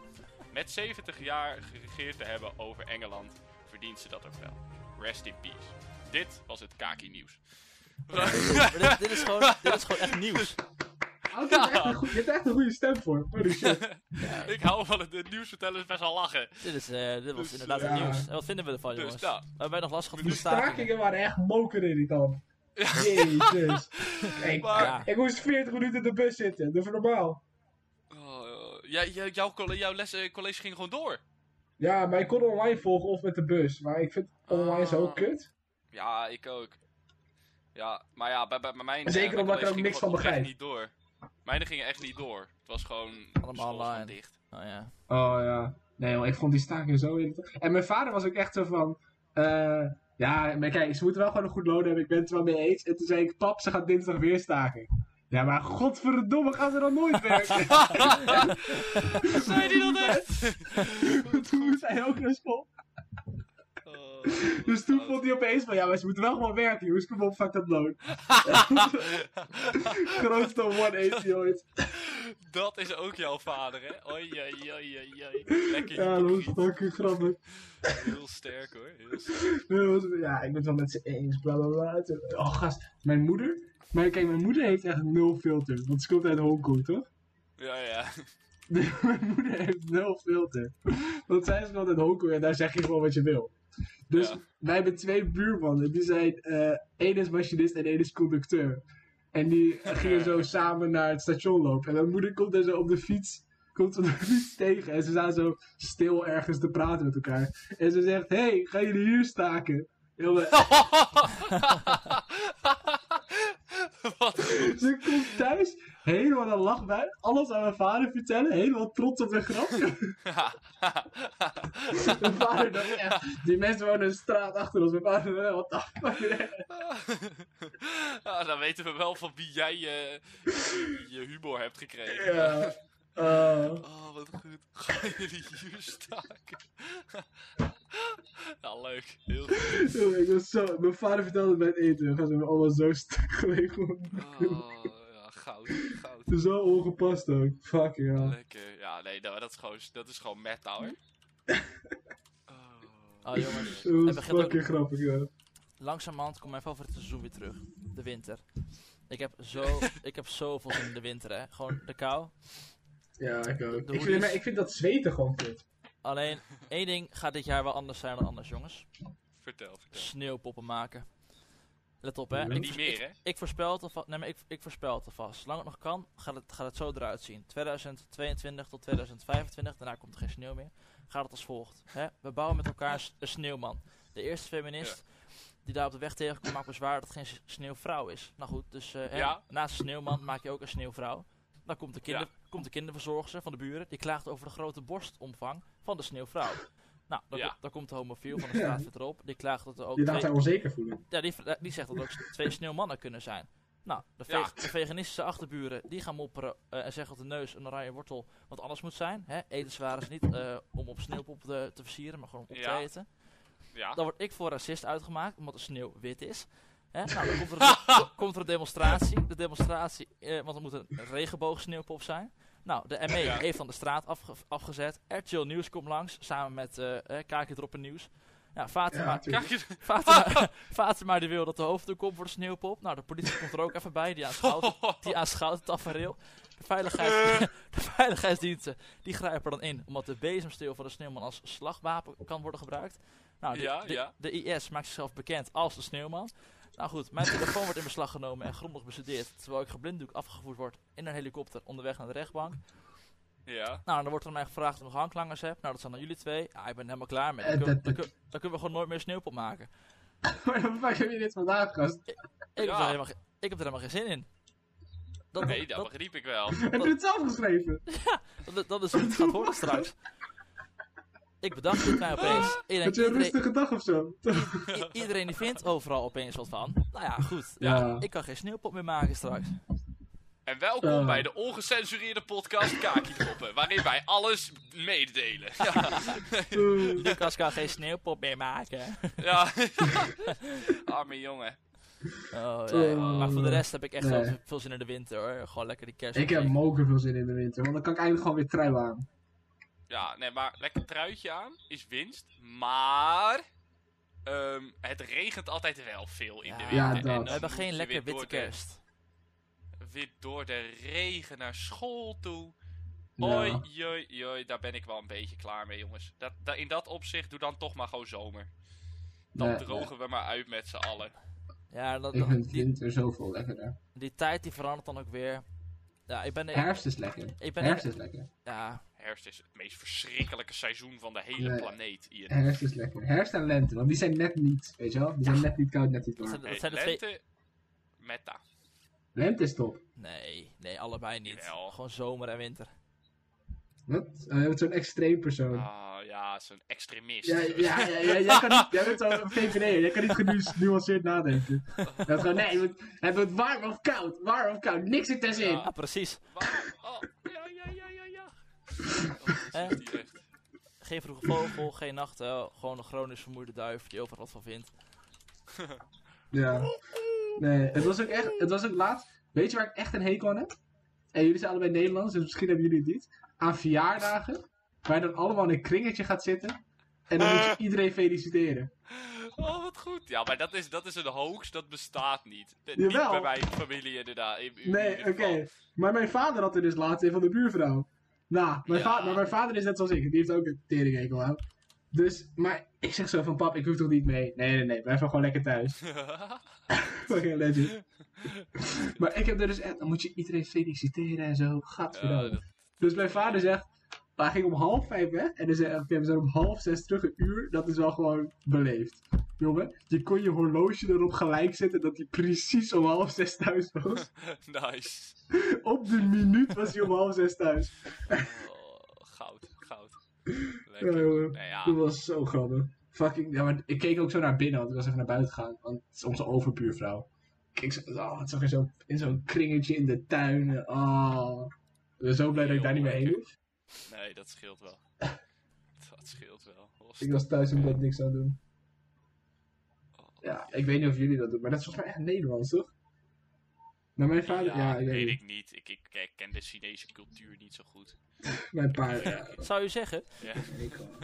S4: Met 70 jaar geregeerd te hebben over Engeland verdient ze dat ook wel. Rest in peace. Dit was het Kaki-nieuws.
S1: Maar dit, dit is gewoon, dit is gewoon echt nieuws.
S4: <laughs>
S2: Oh, dit is echt een goe- dit is echt een goede stem voor. Holy shit.
S4: ik hou van het, het nieuwsvertellen, is best wel lachen.
S1: Dit, is, eh, dit was
S4: Dus,
S1: inderdaad het
S2: ja.
S1: nieuws. En wat vinden we ervan,
S4: Dus,
S1: jongens?
S4: ja.
S1: We hebben nog last gehad van
S2: Die
S1: de stakingen.
S2: stakingen waren echt mokerirritant. Jezus. Ik,
S1: Maar-
S2: ik moest 40 minuten in de bus zitten. Dat is normaal.
S4: Oh, ja, ja, jouw colle- jouw les, eh, college ging gewoon door.
S2: Ja, maar ik kon online volgen of met de bus. Maar ik vind online zo
S4: Ah.
S2: kut.
S4: Ja, ik ook. Ja, maar ja, bij, bij, bij mijn...
S2: En zeker
S4: eh, mijn
S2: omdat ik er
S4: college
S2: ook
S4: ging
S2: niks
S4: gewoon
S2: van
S4: echt
S2: begrijp.
S4: niet door. Mijne gingen echt niet door. Het was gewoon... de school was gewoon
S1: online.
S4: dicht. <laughs>
S1: Oh, ja.
S2: Oh ja. Nee joh, ik vond die stakingen zo irritant. En mijn vader was ook echt zo van... eh, ja, maar kijk, ze moeten wel gewoon een goed loon hebben. Ik ben het er wel mee eens. En toen zei ik, pap, ze gaat dinsdag weer staking. Ja, maar godverdomme, gaan ze dan nooit werken?
S4: Zei die dat echt?
S2: toen moest hij ook naar school.
S4: <laughs> Oh,
S2: <laughs> Dus toen vond hij opeens van, ja, maar ze moeten wel gewoon werken, jongens. Kom op, fuck dat loon. Grootste 180 ooit.
S4: <laughs> Dat is ook jouw vader, hè? Oei, oei, oei, oei, oei. Lekker
S2: <laughs> Ja, dat was
S4: hypocriet.
S2: fucking grappig.
S4: Heel sterk, hoor. Heel sterk.
S2: Dat was- Ja, ik ben het wel met ze eens, bla bla bla. Toen- Oh, gast, mijn moeder. Maar kijk, mijn moeder heeft echt nul filter. Want ze komt uit Hongkong, toch?
S4: Ja, <laughs> ja.
S2: <laughs> mijn moeder heeft nul filter. Want zij is gewoon uit Hongkong en daar zeg je gewoon wat je wil. Dus
S4: Ja.
S2: wij hebben twee buurmannen. Die zijn, eh één is machinist en één is conducteur. En die gingen zo samen naar het station lopen. En mijn moeder komt daar zo op de fiets. Komt ze op de fiets tegen. En ze staan zo stil ergens te praten met elkaar. En ze zegt, hey, gaan jullie hier staken? Jongen,
S4: Oh. Wat goed.
S2: Ze komt thuis helemaal een lachbui. Alles aan mijn vader vertellen. Helemaal trots op de grap. mijn vader dacht echt... Die mensen wonen een straat achter ons. Mijn vader dacht, wat de fuck.
S4: <laughs> Ah, dan weten we wel van wie jij eh, je humor hebt gekregen.
S2: Ja. eh,
S4: Oh, wat goed. <laughs> Gaan jullie hier staken? <laughs> nou, leuk. Heel goed.
S2: jongen, ik was zo... Mijn vader vertelde het bij het eten. We zijn allemaal zo stuk gelegen.
S4: Oh, ja, goud, goud.
S2: Zo ongepast ook. Fucking hell.
S4: Lekker. Ja, nee, nou, dat is gewoon, dat is gewoon meta, hoor. Oh.
S1: Oh, jongens.
S2: Dat
S1: Het
S2: was
S1: begint ook-
S2: fucking grappig, ja.
S1: Langzamerhand komt mijn favoriete seizoen weer terug. De winter. Ik heb,
S4: <laughs>
S1: zo, ik heb zoveel zin in de winter, hè. Gewoon de kou.
S2: Ja, ik ook. Ik
S1: hoodies.
S2: vind, maar ik vind dat zweten gewoon kut.
S1: Alleen, één ding gaat dit jaar wel anders zijn dan anders, jongens.
S4: Vertel, vertel.
S1: Sneeuwpoppen maken. Let op, hè.
S2: En
S1: Ik
S4: Niet
S1: vers-
S4: meer, hè?
S1: Ik voorspel het alvast. Nee, maar ik, ik voorspel het alvast. Zolang het nog kan, gaat het, gaat het zo eruit zien. 2022 tot 2025, daarna komt er geen sneeuw meer. Gaat het als volgt. Hè? We bouwen met elkaar s- een sneeuwman. De eerste feminist die daar op de weg tegenkomt, maakt bezwaar dat het geen s- sneeuwvrouw is. Nou goed, dus eh, hè,
S4: Ja.
S1: naast de sneeuwman maak je ook een sneeuwvrouw. Dan komt de, kinder, komt de kinderverzorgster van de buren. Die klaagt over de grote borstomvang van de sneeuwvrouw. Nou, dan,
S4: Ja.
S1: komt- dan komt de homofiel van de straat weer erop. Die klaagt dat er ook
S2: Je laat
S1: twee-
S2: haar onzeker voelen.
S1: ja, die, eh, die zegt dat er ook s- twee sneeuwmannen kunnen zijn. Nou, de, ve-
S4: Ja.
S1: de veganistische achterburen die gaan mopperen eh, en zeggen dat de neus een oranje wortel wat anders moet zijn. Hè? Etenswaar is niet eh, om op sneeuwpop te, te versieren, maar gewoon om op
S4: Ja.
S1: te eten.
S4: Ja.
S1: Dan word ik voor racist uitgemaakt, omdat de sneeuw wit is. Hè? Nou, dan komt
S4: <laughs>
S1: er, een, dan komt er een demonstratie. De demonstratie, eh, want het moet een regenboogsneeuwpop zijn. Nou, de ME
S4: Ja.
S1: heeft van de straat afge- afgezet. RTL Nieuws komt langs, samen met eh eh, Kaakje Droppen Nieuws. Ja, Fatima,
S2: Ja, tuurlijk.
S4: Kijk je... Ah!
S1: Fatima, <laughs> Fatima die wil dat de hoofddoek op wordt sneeuwpop. Nou, de politie komt er ook even bij, die aanschouwt het, die aanschouwt het tafereel. De, veiligheids,
S4: Eh.
S1: <laughs> de veiligheidsdiensten die grijpen dan in, omdat de bezemsteel van de sneeuwman als slagwapen kan worden gebruikt. Nou, de,
S4: Ja,
S1: de,
S4: ja.
S1: de IS maakt zichzelf bekend als de sneeuwman. Nou goed, mijn telefoon wordt in beslag genomen en grondig bestudeerd, terwijl ik geblinddoek afgevoerd word in een helikopter onderweg naar de rechtbank.
S4: <laughs> Ja.
S1: Nou, en dan wordt er aan mij gevraagd of ik hangklangers heb. Nou, dat zijn dan jullie twee. Ah, ik ben er helemaal klaar mee.
S2: Eh,
S1: Dan, kun-
S2: dat-
S1: dan kun- dan kunnen we gewoon nooit meer sneeuwpop maken.
S2: <laughs> Maar dan fuck heb je dit vandaag, gast?
S1: Ik, heb
S4: Ja.
S1: er helemaal, ge- ik heb er helemaal geen zin in. Dat,
S4: Nee, dat
S1: dat,
S4: begreep ik wel.
S2: Heb je het zelf geschreven?
S1: dat, dat is hoe het gaat worden straks. Ik bedacht dit mij
S4: Ah.
S1: opeens. Ik denk,
S2: Had je een
S1: iedereen,
S2: rustige dag of zo?
S1: i- iedereen die vindt overal opeens wat van. Nou ja, goed.
S2: Ja.
S1: Ik kan geen sneeuwpop meer maken
S4: <laughs>
S1: straks.
S4: En welkom
S2: Eh.
S4: bij de ongecensureerde podcast Kaki-Poppen, waarin wij alles meedelen. Ja,
S2: Oeh.
S1: Lucas kan geen sneeuwpop meer maken.
S4: <laughs> ja. <laughs> arme jongen.
S1: Oh, nee.
S2: Oh.
S1: Maar voor de rest heb ik echt wel
S2: Nee.
S1: veel zin in de winter hoor. Gewoon lekker die kerst.
S2: Ik heb moker veel zin in de winter, want dan kan ik eindelijk gewoon weer trui aan.
S4: Ja, nee, maar lekker truitje aan is winst, maar ehm, het regent altijd wel veel in de
S1: Ja,
S4: winter.
S2: dat.
S4: en dan
S1: We hebben
S4: moet
S1: geen
S4: je
S1: lekker
S4: weer
S1: witte
S4: door de-
S1: kerst.
S4: weer door de regen naar school toe.
S2: Ja.
S4: Oi, joi, joi, daar ben ik wel een beetje klaar mee, jongens. Dat, da- in dat opzicht, doe dan toch maar gewoon zomer. Dan
S2: Ja,
S4: drogen we maar uit met z'n allen.
S1: Ja, dat,
S2: Ik vind
S1: die,
S2: winter zoveel lekkerder.
S1: die tijd die verandert dan ook weer. Ja, ik ben... Ik,
S2: Herfst is lekker.
S1: ik ben
S2: Herfst is lekker.
S1: ja,
S4: Herfst is het meest verschrikkelijke seizoen van de hele
S2: Nee.
S4: planeet, Ian.
S2: Herfst is lekker. Herfst en lente, want die zijn net niet, weet je wel? Die zijn net niet koud, net niet
S1: dat zijn,
S2: warm.
S4: Hey,
S1: dat zijn de twee...
S4: lente, meta.
S2: Lente is top.
S1: Nee, nee, allebei niet.
S4: Jawel.
S1: Gewoon zomer en winter.
S2: Wat? Oh, jij bent zo'n extreem persoon.
S4: Ah, ja, zo'n extremist.
S2: Ja, ja, ja, ja, jij, kan niet, jij bent zo'n VVD'er, jij kan niet genuanceerd nadenken. Dat gewoon, nee, het wordt, het wordt warm of koud, warm of koud, niks er tussenin.
S4: Ja.
S1: Ah, precies.
S4: Waar- Oh, ja, ja, ja, ja, ja. Oh, dat
S1: Eh?
S4: zit hier echt.
S1: Geen vroege vogel, geen nachtuil. Gewoon een chronisch vermoeide duif die overal wat van vindt.
S2: Ja. Nee, het was ook echt, het was ook laat. Weet je waar ik echt een hekel aan heb? En jullie zijn allebei Nederlands, dus misschien hebben jullie het niet. Aan verjaardagen, waar je dan allemaal in een kringetje gaat zitten. En dan moet
S4: Eh.
S2: je iedereen feliciteren.
S4: Oh, wat goed. Ja, maar dat is, dat is een hoax, dat bestaat niet. De-
S2: Jawel.
S4: Niet bij mijn familie inderdaad. in- in
S2: Nee,
S4: ieder
S2: oké.
S4: geval.
S2: Maar mijn vader had er dus laatst een van de buurvrouw. Nou, mijn,
S4: Ja.
S2: va- maar mijn vader is net zoals ik. Die heeft ook een teringhekel aan. Dus, maar ik zeg zo van, pap, ik hoef toch niet mee? Nee, nee, nee, blijf gewoon lekker thuis. <laughs> Fucking
S4: <laughs>
S2: legend. maar ik heb er dus echt, dan moet je iedereen feliciteren en zo. Gadverdamme.
S4: Ja, dat-
S2: Dus mijn vader zegt, hij ging om half vijf weg. En dan zei hij, oké, we zijn om half zes terug, een uur. Dat is wel gewoon beleefd. Jongen, je kon je horloge erop gelijk zetten dat hij precies om half zes thuis <laughs> was.
S4: <laughs> nice.
S2: Op de minuut was hij om half zes thuis.
S4: Oh, goud, goud. Lekker.
S2: Ja, jongen.
S4: Nou ja,
S2: Dat was zo grappig. Fucking, ja, maar ik keek ook zo naar binnen, want ik was even naar buiten gegaan. Want het is onze overbuurvrouw. Ik keek zo, oh, het zag in zo'n in zo'n kringetje in de tuin. Oh. Ik ben zo blij dat ik daar niet meer heen moest.
S4: nee, dat scheelt wel. Dat scheelt wel. Oh,
S2: Ik was thuis en
S4: oké.
S2: bleef niks aan doen.
S4: oh.
S2: Ja, ik weet niet of jullie dat doen, maar dat is volgens mij echt Nederlands, toch? Nou, mijn vader, ja, ik weet
S4: weet
S2: niet.
S4: ik niet. Ik, ik, ik ken de Chinese cultuur niet zo goed.
S2: Mijn <laughs> pa, ja.
S1: Zou u zeggen?
S4: Ja,
S2: ik wel.
S4: <laughs>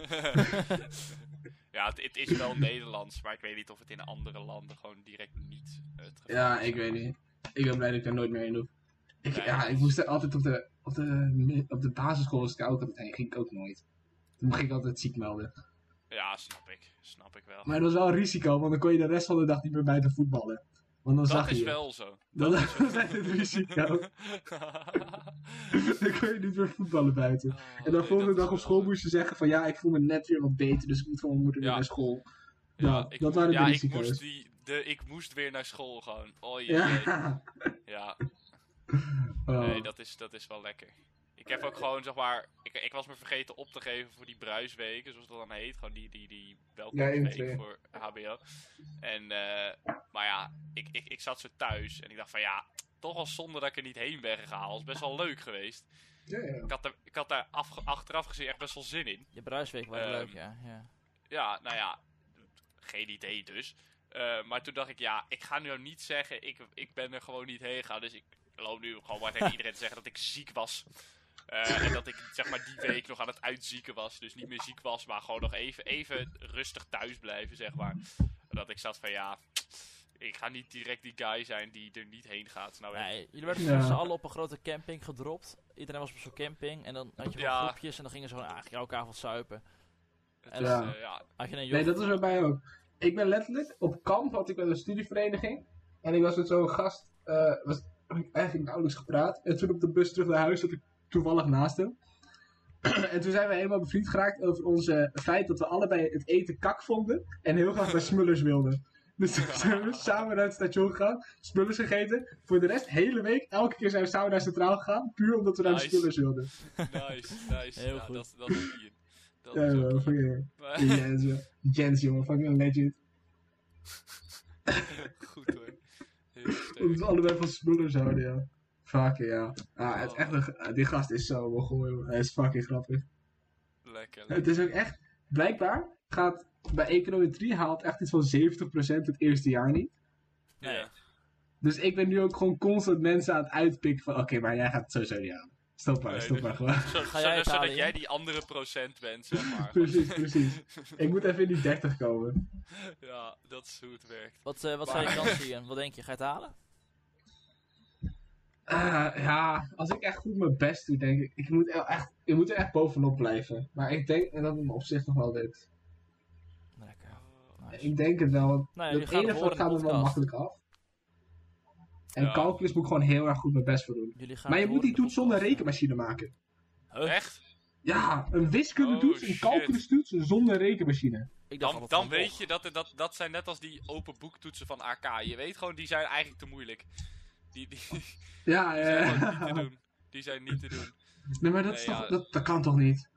S4: ja het, het is wel Nederlands, maar ik weet niet of het in andere landen gewoon direct niet het geval
S2: Ja,
S4: is.
S2: ik weet niet. Ik ben blij dat ik daar nooit meer in hoef. Ik,
S4: Nee.
S2: ja, ik moest er altijd op de, op de, mi- op de basisschool was ik daar ook altijd heen, ging ik ook nooit. Toen ging ik altijd ziek melden.
S4: Ja, snap ik. Snap ik wel.
S2: Maar dat was wel een risico, want dan kon je de rest van de dag niet meer buiten voetballen. Want dan
S4: dat
S2: zag je.
S4: is
S2: je.
S4: wel zo.
S2: <laughs>
S4: Oh,
S2: Dat, was echt het
S4: <laughs>
S2: risico. dan kon je niet meer voetballen buiten. En dan volgende dag op school moest je zeggen van ja, ik voel me net weer wat beter, dus ik moet van mijn moeder weer
S4: Ja.
S2: naar school.
S4: Ja,
S2: Ja,
S4: ik,
S2: dat
S4: moest-
S2: waren de
S4: ja, ik
S2: risico's.
S4: moest, die, de, ik moest weer naar school gaan. Oh jee. Ja,
S2: Ja.
S4: nee,
S2: Oh.
S4: dat is, dat is wel lekker. Ik heb ook gewoon, zeg maar, ik, ik was me vergeten op te geven voor die bruisweken, zoals dat dan heet. Gewoon die, die, die welkomstweek
S2: intro, ja.
S4: voor HBO. En, eh, maar ja, ik, ik, ik zat zo thuis en ik dacht van ja, toch wel zonde dat ik er niet heen ben gegaan. Dat is best wel leuk geweest.
S2: Ja, ja.
S4: Ik had, er, ik had daar afge- achteraf gezien echt best wel zin in.
S1: Je bruisweek was
S4: Ehm.
S1: leuk, ja. ja.
S4: Ja, nou ja, geen idee dus. Eh, maar toen dacht ik, ja, ik ga nu ook niet zeggen, ik, ik ben er gewoon niet heen gegaan. Dus ik loop nu gewoon maar tegen iedereen te zeggen dat ik ziek was. Eh, en dat ik zeg maar die week nog aan het uitzieken was. Dus niet meer ziek was, maar gewoon nog even, even rustig thuis blijven, zeg maar. En dat ik zat van, ja, ik ga niet direct die guy zijn die er niet heen gaat. Nou, ja,
S1: Nee, jullie werden
S2: Ja.
S1: met z'n allen op een grote camping gedropt. Iedereen was op zo'n camping en dan had je gewoon
S4: Ja.
S1: groepjes en dan gingen ze gewoon eigenlijk elke avond zuipen.
S4: het is,
S2: Ja.
S4: eh, ja.
S1: Had je een
S2: Nee,
S1: joch-
S2: dat is bij mij ook. Ik ben letterlijk op kamp, had ik wel een studievereniging. En ik was met zo'n gast, eh was, heb ik eigenlijk nauwelijks gepraat. En toen op de bus terug naar huis zat ik toevallig naast hem. <clears throat> en toen zijn we helemaal bevriend geraakt over onze feit dat we allebei het eten kak vonden. En heel graag bij Smullers wilden. Dus toen zijn
S4: <laughs>
S2: we samen naar het station gegaan, Smullers gegeten. Voor de rest, hele week, elke keer zijn we samen naar Centraal gegaan. Puur omdat we naar de
S4: Nice.
S2: Smullers wilden.
S4: nice, nice.
S1: Heel
S4: ja,
S1: goed.
S4: Dat, dat is Ian. Dat
S2: Ja,
S4: is ook
S2: ja,
S4: Ian.
S2: fucking-
S4: Maar-
S2: Jens, joh. Jens, jongen, fucking een legend.
S4: <laughs> Goed hoor. Heel
S2: Omdat
S4: sterk.
S2: we allebei van Smullers houden, ja. Vaker, ja. Ah, het is echt een ge- ah, die gast is zo mogel, joh. Hij is fucking grappig.
S4: Lekker. lekker.
S2: Het is ook echt, blijkbaar gaat bij econometrie haalt echt iets van 70% het eerste jaar niet.
S1: Nee.
S4: Ja.
S2: Dus ik ben nu ook gewoon constant mensen aan het uitpikken van, oké, maar jij gaat het sowieso niet aan. Stop maar,
S4: Nee,
S2: stop
S4: dus-
S2: maar <laughs> gewoon.
S4: Zo,
S1: Ga
S4: zo-
S1: jij het halen,
S4: zodat
S1: Ian?
S4: jij die andere procent bent, zeg maar.
S2: <laughs> Precies, precies. Ik moet even in die 30 komen.
S4: <laughs> ja, dat is hoe het werkt.
S1: Wat, eh, wat zou je
S2: Maar-
S1: kans zien? Wat denk je? Ga je het halen?
S2: Eh, ja, als ik echt goed mijn best doe, denk ik. Ik moet, er echt, ik moet er echt bovenop blijven. Maar ik denk dat het me op zich nog wel lukt.
S1: Lekker.
S2: Ik denk het wel. want
S1: Nou ja, jullie
S2: het
S1: gaan het
S2: ene
S1: horen
S2: vak
S1: in de
S2: gaat me wel
S1: podcast.
S2: makkelijk af. En
S4: Ja.
S2: calculus moet ik gewoon heel erg goed mijn best voor doen.
S1: Jullie gaan
S2: Maar je
S1: het
S2: moet die
S1: horen in
S2: toets
S1: de
S2: zonder
S1: podcast.
S2: rekenmachine maken.
S1: Huh?
S4: Echt?
S2: Ja, een wiskunde toets,
S4: Oh,
S2: een
S4: shit.
S2: calculus toets zonder rekenmachine.
S1: Ik dacht
S4: Dan,
S1: altijd
S4: dan
S1: van, oh.
S4: weet
S1: och,
S4: je, dat, dat, dat zijn net als die open boektoetsen van AK. Je weet gewoon, die zijn eigenlijk te moeilijk. Die, die,
S2: <laughs>
S4: die
S2: Ja,
S4: zijn
S2: eh,
S4: gewoon niet te doen. Die zijn niet te doen.
S2: nee, maar dat,
S4: Nee,
S2: is
S4: ja.
S2: toch, dat, dat kan toch niet?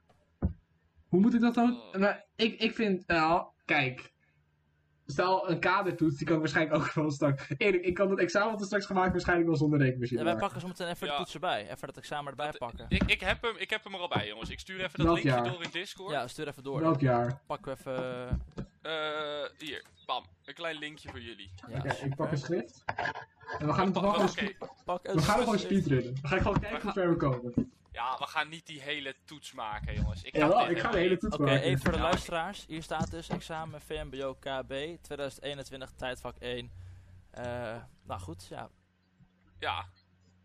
S2: Hoe moet ik dat dan?
S4: Oh.
S2: Maar ik, ik vind, nou, kijk. Stel, een kadertoets, die kan ik waarschijnlijk ook <laughs> gewoon straks. Eerlijk, ik kan dat examen dat straks gemaakt waarschijnlijk wel zonder rekenmachine.
S1: Ja, wij
S2: maken.
S1: pakken zo meteen even de
S4: Ja.
S1: toetsen bij. Even dat examen erbij
S4: Dat-
S1: pakken.
S4: Ik, ik, heb hem, ik heb hem er al bij, jongens. Ik stuur even dat
S2: Dat
S4: linkje
S2: jaar.
S4: door in Discord.
S1: Ja, stuur even door.
S2: Welk jaar?
S1: Pakken we even...
S4: Eh, hier, bam. Een klein linkje voor jullie. Oh,
S1: Ja,
S2: Oké, ik pak
S1: super.
S2: een schrift. En we gaan het toch wel
S4: Oké,
S2: gewoon spe-
S1: Pak een
S2: We gaan gewoon
S1: schrift.
S2: speedrunnen. We gaan gewoon kijken hoe ver we komen.
S4: ja, we gaan niet die hele toets maken, jongens. Ik kan
S2: Jawel,
S4: dit
S2: ik ga de
S4: helemaal
S2: hele
S4: niet.
S2: toets
S1: Oké,
S2: maken.
S1: even voor de
S4: Ja.
S1: luisteraars. Hier staat dus examen VMBO KB 2021 tijdvak 1. Eh, nou goed, ja.
S4: Ja,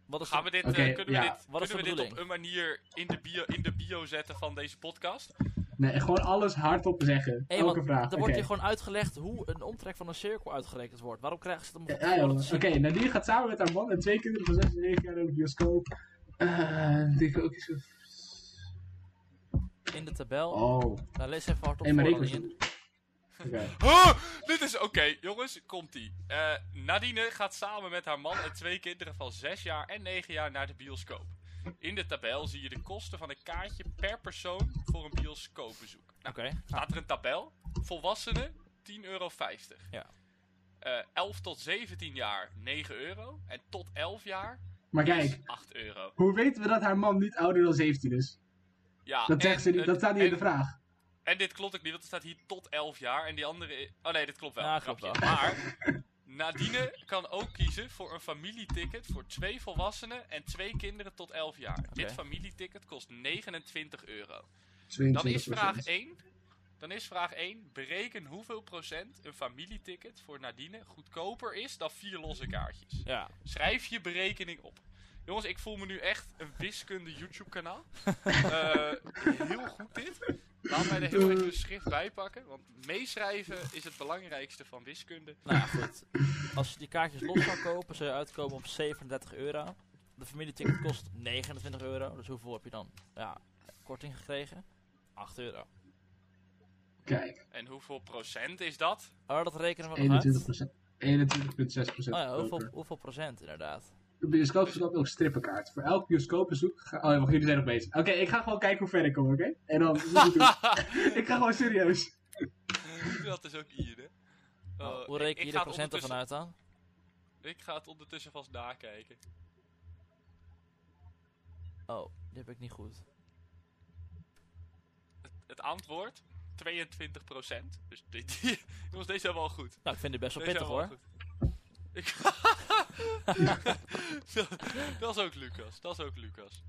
S1: Wat is
S4: gaan
S1: de-
S4: we dit,
S2: Oké,
S4: eh, kunnen
S2: ja.
S4: we dit,
S1: Wat is de
S4: kunnen we dit op
S1: bedoeling?
S4: een manier in de, bio, in de bio zetten van deze podcast?
S2: Nee, gewoon alles hardop zeggen.
S1: Hey,
S2: Elke
S1: want
S2: vraag.
S1: Er
S2: Oké,
S1: wordt hier gewoon uitgelegd hoe een omtrek van een cirkel uitgerekend wordt. Waarom krijgen ze het om
S2: Ja,
S1: van
S2: ja,
S1: tevoren
S2: jongen.
S1: te
S2: Oké,
S1: zien?
S2: Nadine gaat samen met haar man en twee kinderen van 6 en 9 jaar naar de bioscoop. Eh, die kan ook eens...
S1: In de tabel.
S2: Oh,
S1: Nou, lees even hardop
S2: hey, maar
S1: voor
S2: ik
S1: dan
S2: was...
S1: in.
S2: Oké.
S4: Huh, dit is oké, jongens, komt ie. Eh, Nadine gaat samen met haar man en twee kinderen van 6 jaar en 9 jaar naar de bioscoop. In de tabel zie je de kosten van een kaartje per persoon voor een bioscoopbezoek. Nou,
S1: Oké.
S4: staat er een tabel. Volwassenen 10,50 euro.
S1: Ja.
S4: Eh, 11 tot 17 jaar 9 euro. En tot 11 jaar
S2: Maar
S4: is
S2: kijk,
S4: 8 euro.
S2: hoe weten we dat haar man niet ouder dan 17 is?
S1: Ah,
S4: Ja,
S2: Dat, zegt
S4: en
S2: ze niet,
S4: een-
S2: dat staat niet in de
S4: en-
S2: vraag.
S4: En dit klopt ook niet, want er staat hier tot 11 jaar. En die andere. i- Oh nee, dit klopt wel.
S1: Ja, klopt
S4: grapje. Maar Nadine kan ook kiezen voor een familieticket voor twee volwassenen en twee kinderen tot 11 jaar. Dit familieticket kost 29 euro. Dan is vraag 1. Dan is vraag 1. Bereken hoeveel procent een familieticket voor Nadine goedkoper is dan vier losse kaartjes.
S1: Ja.
S4: Schrijf je berekening op. Jongens, ik voel me nu echt een wiskunde
S1: <laughs>
S4: YouTube-kanaal. Eh, heel goed dit. Laat mij er heel even een schrift bij pakken. Want meeschrijven is het belangrijkste van wiskunde.
S1: Nou ja, goed. Als je die kaartjes los zou kopen, zou je uitkomen op 37 euro. De familieticket kost 29 euro. Dus hoeveel heb je dan? Ja, korting gekregen? 8 euro.
S2: Kijk,
S4: En hoeveel procent is dat?
S1: Oh, dat rekenen we Oh, nog uit.
S2: 21
S1: Oh ja, hoeveel,
S2: 21,6%.
S1: hoeveel procent inderdaad?
S2: De bioscoop verkoopt ook strippenkaart. Voor elk bioscoopbezoek... Ga... Oh, ja, wacht, jullie zijn nog bezig. Oké, ik ga gewoon kijken hoe ver ik kom, oké? En dan... ik ga gewoon serieus.
S4: <laughs> dat is ook hier, hè? Oh,
S1: Hoe
S4: Eh, ik-
S1: reken
S4: ik
S1: je
S4: ga
S1: de
S4: het
S1: procenten
S4: ondertussen-
S1: vanuit dan?
S4: Ik ga het ondertussen vast nakijken.
S1: Oh, die heb ik niet goed.
S4: Het antwoord: 22 procent. Dus dit, <laughs> jongens, deze hebben we al goed.
S1: Nou, ik vind dit best wel
S4: Deze
S1: pittig hoor.
S4: hebben we al goed. Ik- <laughs> Dat- dat is ook Lucas. Dat is ook Lucas.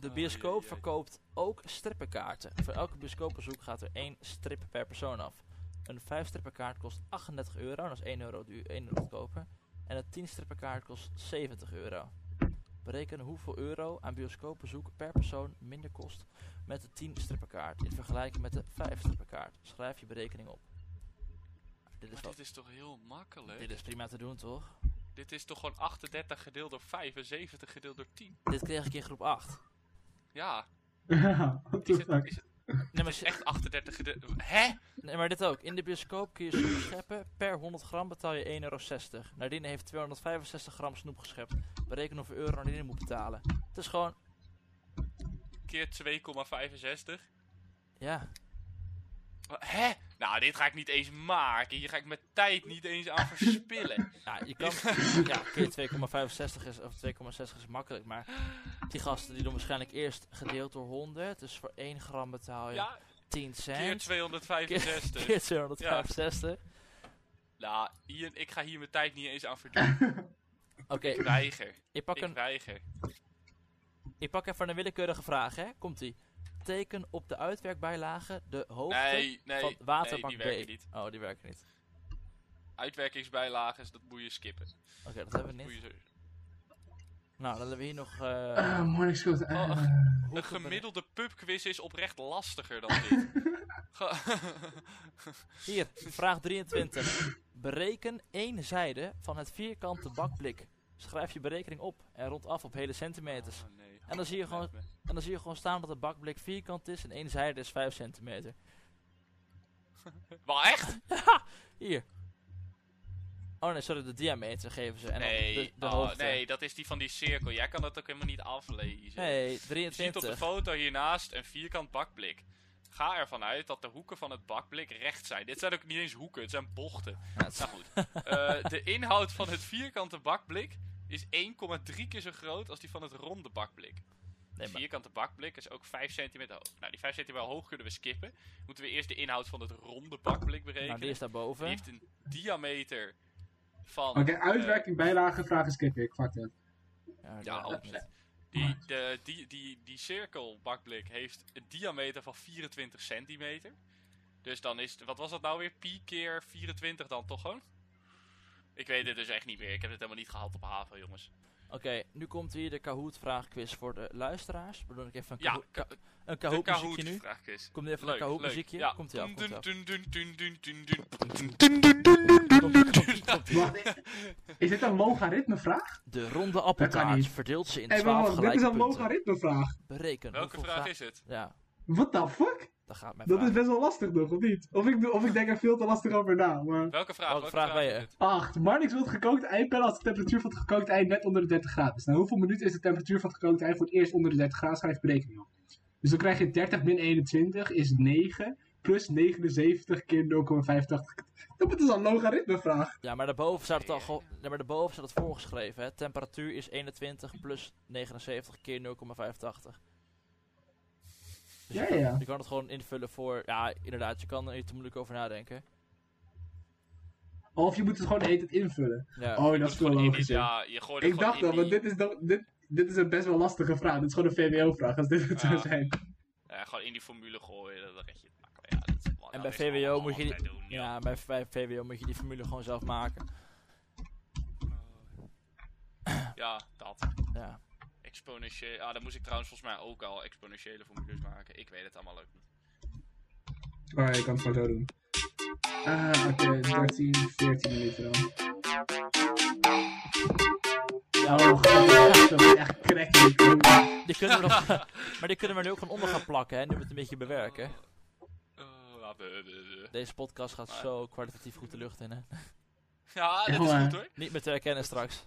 S1: De
S4: Oh,
S1: bioscoop
S4: jee, jee.
S1: verkoopt ook strippenkaarten. Voor elke bioscoopbezoek gaat er één strip per persoon af. Een 5 strippenkaart kost 38 euro, dat is 1 euro, duur, 1 euro goedkoper. En een 10 strippenkaart kost 70 euro. Bereken hoeveel euro aan bioscoopbezoek per persoon minder kost met de 10 strippenkaart in vergelijking met de 5 strippenkaart. Schrijf je berekening op. Dit is,
S4: Maar
S1: wel-
S4: dit is toch heel makkelijk?
S1: dit is prima te doen toch?
S4: Dit is toch gewoon 38 gedeeld door 5 en 70 gedeeld door 10?
S1: Dit kreeg ik in groep 8.
S4: Ja.
S2: Ja, what the
S4: Is het,
S2: fuck.
S4: is het
S1: Nee, maar,
S4: echt 38 gedeeld... Hè?
S1: Nee, maar dit ook. In de bioscoop kun je snoep scheppen. Per 100 gram betaal je 1,60 euro. Nadine heeft 265 gram snoep geschept. Bereken hoeveel euro Nadine moet betalen. Het is gewoon,
S4: Keer 2,65.
S1: ja.
S4: Wa- Hè? Nou, dit ga ik niet eens maken. Hier ga ik mijn tijd niet eens aan verspillen.
S1: <laughs> Ja, je kan, ja keer 2,65 is, of 2,60 is makkelijk. Maar die gasten die doen waarschijnlijk eerst gedeeld door 100. Dus voor 1 gram betaal je
S4: <laughs> Ja,
S1: 10
S4: keer
S1: cent. Keer,
S4: 265.
S1: keer 265.
S4: Nou, Ian, ik ga hier mijn tijd niet eens aan verdienen.
S1: Oké,
S4: Ik weiger.
S1: ik pak
S4: Ik
S1: een
S4: weiger.
S1: Ik pak even een willekeurige vraag, hè? Komt ie. Teken op de uitwerkbijlage de hoogte
S4: Nee, nee,
S1: van waterbak
S4: nee, die werken
S1: B.
S4: niet.
S1: Oh, die werken niet.
S4: Uitwerkingsbijlages, dat moet je skippen.
S1: Oké, dat hebben we
S4: Moet
S1: niet.
S4: je zo-
S1: Nou, dan hebben we hier nog...
S2: Ah,
S1: eh
S2: Morning Skills.
S4: Oh,
S2: eh,
S1: hoe
S4: Een
S1: te bene-
S4: gemiddelde pubquiz is oprecht lastiger dan
S1: <laughs>
S4: dit. Ge-
S1: Hier, vraag 23. Bereken één zijde van het vierkante bakblik. Schrijf je berekening op en rond af op hele centimeters.
S4: Oh, nee.
S1: En dan zie je gewoon- En dan zie je gewoon staan dat de bakblik vierkant is en één zijde is 5 centimeter.
S4: Wel echt?
S1: Hier. Oh nee, sorry, de diameter geven ze. En dan
S4: Nee,
S1: de, de
S4: oh,
S1: hoogte.
S4: nee, dat is die van die cirkel. Jij kan dat ook helemaal niet aflezen.
S1: Nee,
S4: Je ziet op de
S1: 23.
S4: foto hiernaast een vierkant bakblik. Ga ervan uit dat de hoeken van het bakblik recht zijn. Dit zijn ook niet eens hoeken, het zijn bochten.
S1: Ja, het is-
S4: Nou goed. Eh, de inhoud van het vierkante bakblik is 1,3 keer zo groot als die van het ronde bakblik.
S1: nee,
S4: De
S1: maar-
S4: vierkante bakblik is ook 5 centimeter hoog. Nou, die 5 centimeter hoog kunnen we skippen. Moeten we eerst de inhoud van het ronde bakblik berekenen.
S1: nou, die is
S4: Die
S1: daarboven.
S4: heeft een diameter van...
S2: Oké,
S4: eh,
S2: uitwerking, bijlage, vraag is kickback. Fuck dat.
S1: Ja, dat-
S4: Ja, hopelijk. Die, de, die, die, die cirkelbakblik heeft een diameter van 24 centimeter. Dus dan is, het- wat was dat nou weer? Pi keer 24 dan toch gewoon? Ik weet het dus echt niet meer. Ik heb het helemaal niet gehaald op haven, jongens.
S1: Oké, nu komt hier de Kahoot-vraagquiz voor de luisteraars. We doen ook even een
S4: Ja,
S1: Kahoot,
S4: ka-
S1: ka- een
S4: de
S1: Kahoot muziekje nu.
S4: Kahoot-vraag is.
S1: Komt er even een Kahoot muziekje?
S4: Ja.
S1: Komt ie af, komt ie af.
S4: Dun, dun, dun, dun, dun, dun,
S1: Komt- komt- komt-
S2: Wacht, is dit een logaritmevraag?
S1: De ronde
S2: Dat kan
S1: appeltaart
S2: niet.
S1: verdeelt ze in
S2: Hey, wacht,
S1: 12
S2: wacht, dit is
S1: gelijke
S2: een
S1: punten.
S2: logaritmevraag.
S1: Bereken.
S4: Welke
S1: hoeveel
S4: vraag
S1: gra-
S4: is het?
S1: Ja,
S2: What the fuck?
S1: dat gaat mijn
S2: Dat
S1: vraag.
S2: is best wel lastig nog, of niet? Of ik, of ik denk er veel te lastig over na, maar...
S4: Welke vraag?
S1: Welke vraag ben
S4: is
S1: je?
S4: het?
S2: 8. Marnix wil het gekookte ei pellen als de temperatuur van het gekookte ei net onder de 30 graden is. Na hoeveel minuten is de temperatuur van het gekookte ei voor het eerst onder de 30 graden? Schrijf berekening op. Dus dan krijg je 30 min 21 is 9 plus 79 keer 0,85. Dat is al een logaritmevraag.
S1: Ja, maar daarboven staat het al ge- ja, maar daarboven staat het voorgeschreven. Hè. Temperatuur is 21 plus 79 keer 0,85. Dus
S2: Ja,
S1: je kan-
S2: ja.
S1: Je kan het gewoon invullen voor... Ja, inderdaad, je kan er niet te moeilijk over nadenken.
S2: Of je moet het gewoon de hele tijd invullen.
S1: Ja,
S2: Oh,
S4: Je
S2: dat
S4: moet
S2: is veel
S4: gewoon in die-
S2: logischer.
S4: Ja, je gooit er
S2: Ik
S4: gewoon
S2: dacht
S4: in
S2: al, want
S4: die-
S2: dit is, dan- dit, dit is een best wel lastige vraag. Dit is gewoon een VWO-vraag, als dit het
S4: Ja.
S2: zou zijn.
S4: ja, gewoon in die formule gooien, dan red je het makkelijk. Ja, dat is wel-
S1: en
S4: dat
S1: bij
S4: is
S1: VWO
S4: allemaal
S1: moet je...
S4: altijd
S1: Die,
S4: doen, ja.
S1: ja, bij, bij VWO moet je die formule gewoon zelf maken.
S4: Ja, dat.
S1: Ja.
S4: Exponentieel. Ah, dan moest ik trouwens volgens mij ook al exponentiële formules maken. Ik weet het allemaal ook niet.
S2: Maar je kan het gewoon zo doen. Ah, oké, 13, 14 minuten dan. Ja, oh, god, dat is echt cracky.
S1: Die kunnen we nog,
S4: <laughs>
S1: maar die kunnen we nu ook gewoon onder gaan plakken, hè. Nu we het een beetje bewerken.
S4: Eh, ja, we- we- we-
S1: Deze podcast gaat zo kwalitatief goed de lucht in, hè.
S4: Ja, dat is
S2: Jongen.
S4: goed hoor.
S1: Niet meer te herkennen straks.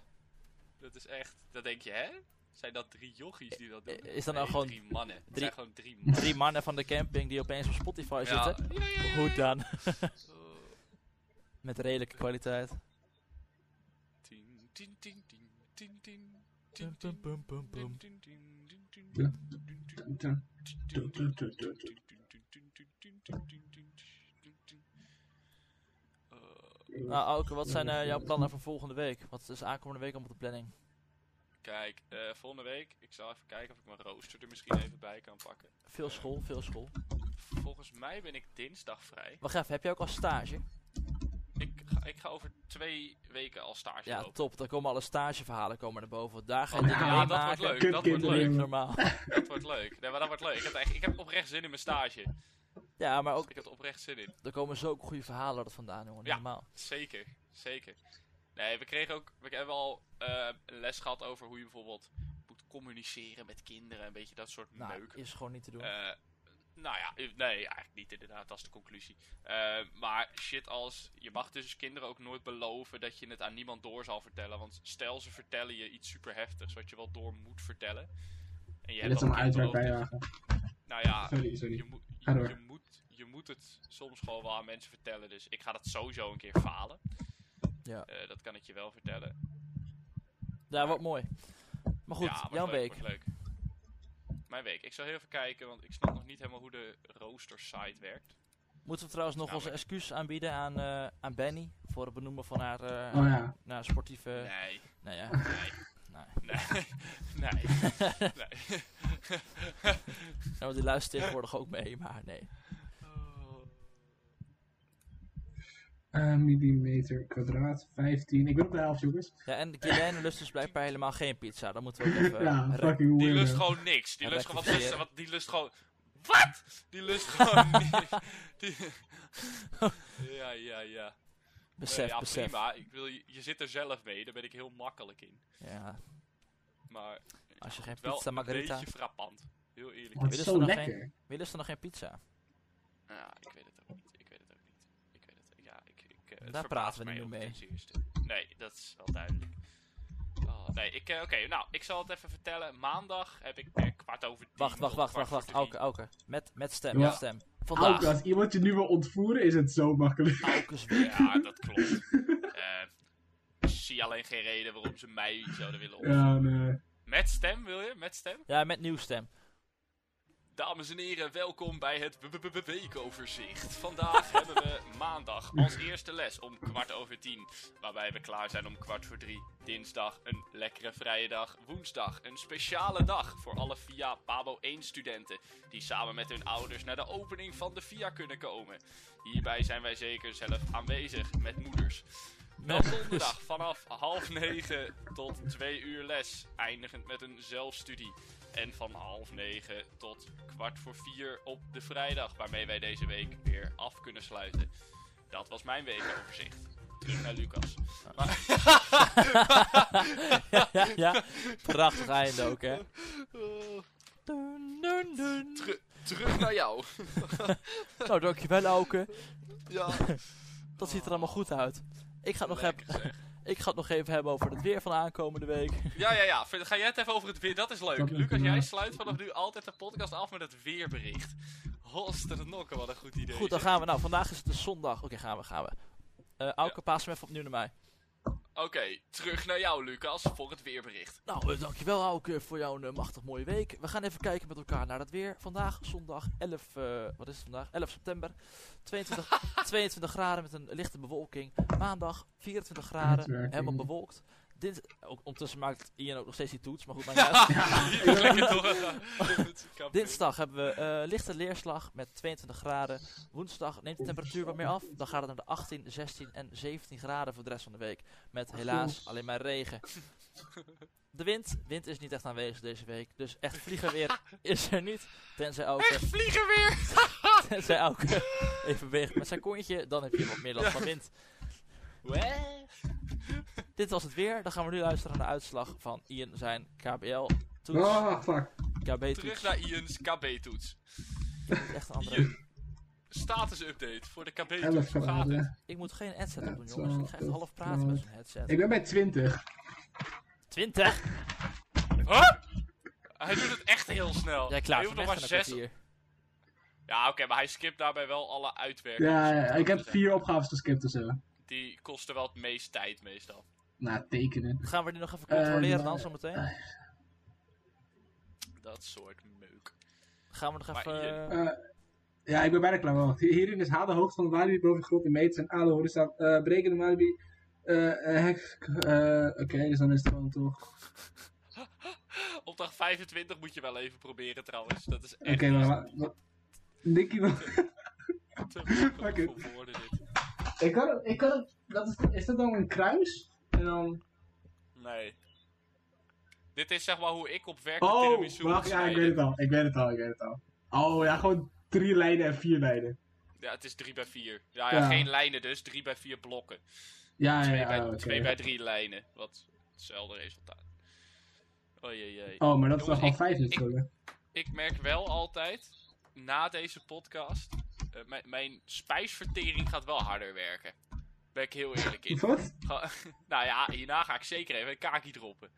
S4: Dat is echt. Dat denk je, hè? Zijn dat drie jochies die dat doen?
S1: Eh, is dat nou
S4: Nee,
S1: gewoon
S4: Drie mannen. Het
S1: drie-
S4: zijn gewoon drie mannen.
S1: Drie mannen van de camping die opeens op Spotify
S4: Ja.
S1: zitten.
S4: Ja, ja, ja.
S1: Hoe dan?
S4: Oh,
S1: <laughs> Met redelijke kwaliteit.
S4: tien, tien, tien, tien, tien, tien, tien, tien, tien, tien, tien, tien, tien,
S2: Ja.
S4: tien, tien.
S1: Nou, Auke, wat zijn eh, jouw plannen voor volgende week? Wat is aankomende week allemaal op de planning?
S4: Kijk, eh, volgende week, ik zal even kijken of ik mijn rooster er misschien even bij kan pakken.
S1: Veel school, veel school.
S4: Volgens mij ben ik dinsdag vrij.
S1: Wacht even, heb jij ook al stage?
S4: Ik ga, ik ga over twee weken al stage
S1: Ja,
S4: lopen.
S1: top. Dan komen alle stageverhalen komen naar boven. want Daar ga je
S2: Oh,
S1: dingen
S2: ja,
S1: mee
S4: dat wordt
S1: maken.
S4: leuk, dat wordt leuk.
S1: Normaal.
S4: Dat wordt leuk. Nee, maar dat wordt leuk. Ik heb, echt, ik heb oprecht zin in mijn stage.
S1: Ja, maar ook,
S4: Ik heb er oprecht zin in.
S1: er komen zulke goede verhalen er vandaan, jongen. Niet
S4: Ja.
S1: Normaal.
S4: Zeker, zeker. Nee, we kregen ook, we hebben al eh, een les gehad over hoe je bijvoorbeeld moet communiceren met kinderen. Een beetje dat soort
S1: Nou,
S4: meuk.
S1: is gewoon niet te doen.
S4: Eh, nou ja, eh, nee, eigenlijk niet inderdaad, dat is de conclusie. Eh, maar shit als, je mag dus kinderen ook nooit beloven dat je het aan niemand door zal vertellen. Want stel ze vertellen je iets super heftigs wat je wel door moet vertellen. En je
S2: Dit is
S4: als
S2: een
S4: kind
S2: uitwerk
S4: beloofd dat
S2: bijlagen.
S4: je- Nou ja,
S2: Sorry, sorry.
S4: je, moet
S2: Ga
S4: je,
S2: door.
S4: je moet, je moet het soms gewoon wel aan mensen vertellen. Dus ik ga dat sowieso een keer falen.
S1: Ja.
S4: Eh, dat kan ik je wel vertellen.
S1: Ja, wat Nou, mooi. Maar goed,
S4: ja, wordt
S1: jouw
S4: leuk,
S1: week.
S4: wordt leuk. Mijn week. Ik zal heel even kijken, want ik snap nog niet helemaal hoe de rooster site werkt.
S1: Moeten we trouwens nog
S4: Nou,
S1: onze
S4: maar-
S1: excuus aanbieden aan, eh, aan Benny. Voor het benoemen van haar, eh,
S2: Oh ja.
S1: naar sportieve...
S4: Nee,
S1: Nou ja.
S4: nee.
S1: Nee.
S4: Nee, <laughs> nee,
S1: <laughs>
S4: nee.
S1: Ja, Nou, want die luistert tegenwoordig ook mee, maar nee.
S2: Eh, millimeter kwadraat, 15. Ik ben op de helft, jongens.
S1: Ja, en Guilaine lust dus blijkbaar helemaal geen pizza. Dan moeten we ook even...
S2: ja,
S1: eh,
S2: fucking
S4: Die
S2: weirdo.
S4: lust gewoon niks. Die
S1: Ja,
S4: lust
S1: dat is
S4: gewoon wat
S1: weer-
S4: is er? Wat die lust gewoon. Wat? Die lust
S1: <laughs>
S4: gewoon niks. Die... Ja, ja, ja.
S1: besef,
S4: ja,
S1: besef.
S4: prima. Ik wil, je je zit er zelf mee, daar ben ik heel makkelijk in.
S1: Ja,
S4: Maar
S1: als je geen
S4: wel
S1: pizza margarita...
S4: een beetje frappant. Heel eerlijk.
S2: Wat
S1: Dit is
S2: Oh, zo
S1: vanaf
S2: lekker.
S1: Wie lust er nog geen pizza?
S4: Ja, ik weet het ook niet. Ik weet het ook niet. Ik weet het. Ja, ik, ik, eh, het
S1: Daar
S4: verbaast
S1: praten we
S4: mij
S1: niet
S4: ook
S1: meer
S4: ten zeerste. Nee, dat is wel duidelijk. Oh, nee, ik, eh, oké, nou, ik zal het even vertellen. Maandag heb ik eh, kwart over tien.
S1: Wacht, wacht,
S4: tot
S1: wacht,
S4: kwart
S1: wacht,
S4: voor
S1: wacht.
S4: drie.
S1: Auke, Auke. Met, met stem,
S2: Ja.
S1: met stem.
S2: Ook
S1: Vandaag.
S2: als iemand je nu wil ontvoeren, is het zo makkelijk.
S1: <laughs> Auke's week.
S4: Ja, dat klopt. Eh, ik zie alleen geen reden waarom ze mij zouden willen op.
S2: Ja, nee.
S4: Met stem, wil je? Met stem?
S1: Ja, met nieuw stem.
S4: Dames en heren, welkom bij het w- w- w- weekoverzicht. Vandaag <laughs> hebben we maandag als eerste les om kwart over tien. Waarbij we klaar zijn om kwart voor drie. Dinsdag een lekkere vrije dag. Woensdag een speciale dag voor alle VIA Pabo 1 studenten. Die samen met hun ouders naar de opening van de VIA kunnen komen. Hierbij zijn wij zeker zelf aanwezig met moeders. Dan donderdag vanaf half negen tot twee uur les, eindigend met een zelfstudie. En van half negen tot kwart voor vier op de vrijdag, waarmee wij deze week weer af kunnen sluiten. Dat was mijn weekoverzicht. Terug naar Lucas. Maar-
S1: ja, ja, ja. Prachtig einde ook, hè. Nou, Dun, dun, dun.
S4: Teru- terug naar jou.
S1: Nou, dankjewel, Auke.
S4: Ja.
S1: Dat ziet er allemaal goed uit. Ik ga, het nog
S4: Lekker
S1: heb,
S4: zeg.
S1: ik ga het nog even hebben over het weer van de aankomende week.
S4: Ja, ja, ja. Vind- Ga jij het even over het weer? Dat is leuk.
S2: Dat is
S4: Lucas, jij
S2: leuk.
S4: sluit vanaf nu altijd de podcast af met het weerbericht. Hoster nokken, wat een goed idee.
S1: Goed, dan
S4: zeg.
S1: gaan we. Nou, vandaag is het dus zondag. Oké, gaan we, gaan we. Eh Auke, paas hem even opnieuw naar mij.
S4: Oké, terug naar jou, Lucas, voor het weerbericht.
S1: Nou, eh, dankjewel Auke voor jouw eh, machtig mooie week. We gaan even kijken met elkaar naar het weer. Vandaag zondag 11, eh, wat is het vandaag? 11 september. 22, 22 graden met een lichte bewolking. Maandag 24 graden,
S2: Uitwerking.
S1: helemaal bewolkt. Dit, ook, ondertussen maakt Ian ook nog steeds die toets, maar goed, maakt niet
S4: <laughs>
S1: uit.
S4: Lekker <laughs> door.
S1: Dinsdag hebben we eh, lichte leerslag met 22 graden. Woensdag neemt de temperatuur wat meer af. Dan gaat het naar de 18, 16 en 17 graden voor de rest van de week. Met helaas alleen maar regen. De wind, wind is niet echt aanwezig deze week. Dus echt vliegen weer is er niet. Tenzij Auke,
S4: Vliegen weer!
S1: tenzij Auke even beweegt met zijn kontje. Dan heb je wat meer last van wind. Dit was het weer. Dan gaan we nu luisteren naar de uitslag van Ian zijn KBL-toets.
S2: Ah, fuck.
S1: KB-toets.
S4: Terug naar Ian's KB-toets.
S1: Echt een andere...
S4: Ian, status-update voor de
S2: 11
S4: KB-toets. Hoe gaat het?
S2: graden.
S1: Ik moet geen headset op doen,
S2: Ja,
S1: jongens. Ik ga echt
S2: twaalf,
S1: half praten met
S2: twaalf.
S1: zo'n headset.
S2: Ik ben bij 20.
S1: 20?
S4: Huh? Hij doet het echt heel snel.
S1: Jij
S4: hij
S1: klaart
S4: hoeft
S1: hem
S4: nog
S1: echt
S4: maar
S1: in een
S4: zes...
S1: kwartier.
S4: Ja, oké, maar hij skipt daarbij wel alle uitwerkingen.
S2: Ja, ja,
S4: Dus dat
S2: ik heb
S4: is-
S2: vier opgaves geskipt of zo.
S4: Die kosten wel het meest tijd meestal.
S2: Nou, tekenen.
S1: Gaan we die nog even controleren
S2: Eh,
S1: dan zometeen?
S4: Dat soort meuk.
S1: Gaan we nog
S4: maar
S1: even...
S4: Ian-
S1: eh,
S2: Eh, ja, ik ben bijna klaar. Wacht. Hierin is haal de hoogte van de Walibi boven grond in meters en alle horizon. eh breken de Walibi. eh eh, hek- eh, Oké, dus dan is het gewoon toch.
S4: Op dag 25 moet je wel even proberen trouwens. Dat is
S2: Oké,
S4: echt
S2: maar. wa- wa- Nicky, wa-
S4: te moeilijk
S2: <laughs> Oké.
S4: voor woorden dit.
S2: ik kan het. Ik kan het dat is, is dat dan een kruis? En dan.
S4: Nee. Dit is zeg maar hoe ik op werk de
S2: Oh,
S4: tiramisu moet
S2: wacht, ja, ik
S4: snijden.
S2: weet het al. Ik weet het al, ik weet het al. Oh ja, gewoon drie lijnen en vier lijnen.
S4: Ja, het is 3 bij 4. Ja, ja,
S2: Ja.
S4: geen lijnen dus, 3 bij 4 blokken.
S2: Ja,
S4: 2
S2: ja, ja. oké.
S4: bij 3 lijnen, wat hetzelfde resultaat. Oh jee, jee.
S2: Oh, maar dat is toch
S4: Jongens,
S2: al vijf
S4: ik-
S2: natuurlijk.
S4: Ik merk wel altijd, na deze podcast, eh, mijn- mijn spijsvertering gaat wel harder werken. Ben ik heel eerlijk in.
S2: Wat?
S4: Ga- <laughs> nou ja, hierna ga ik zeker even een kaakie droppen.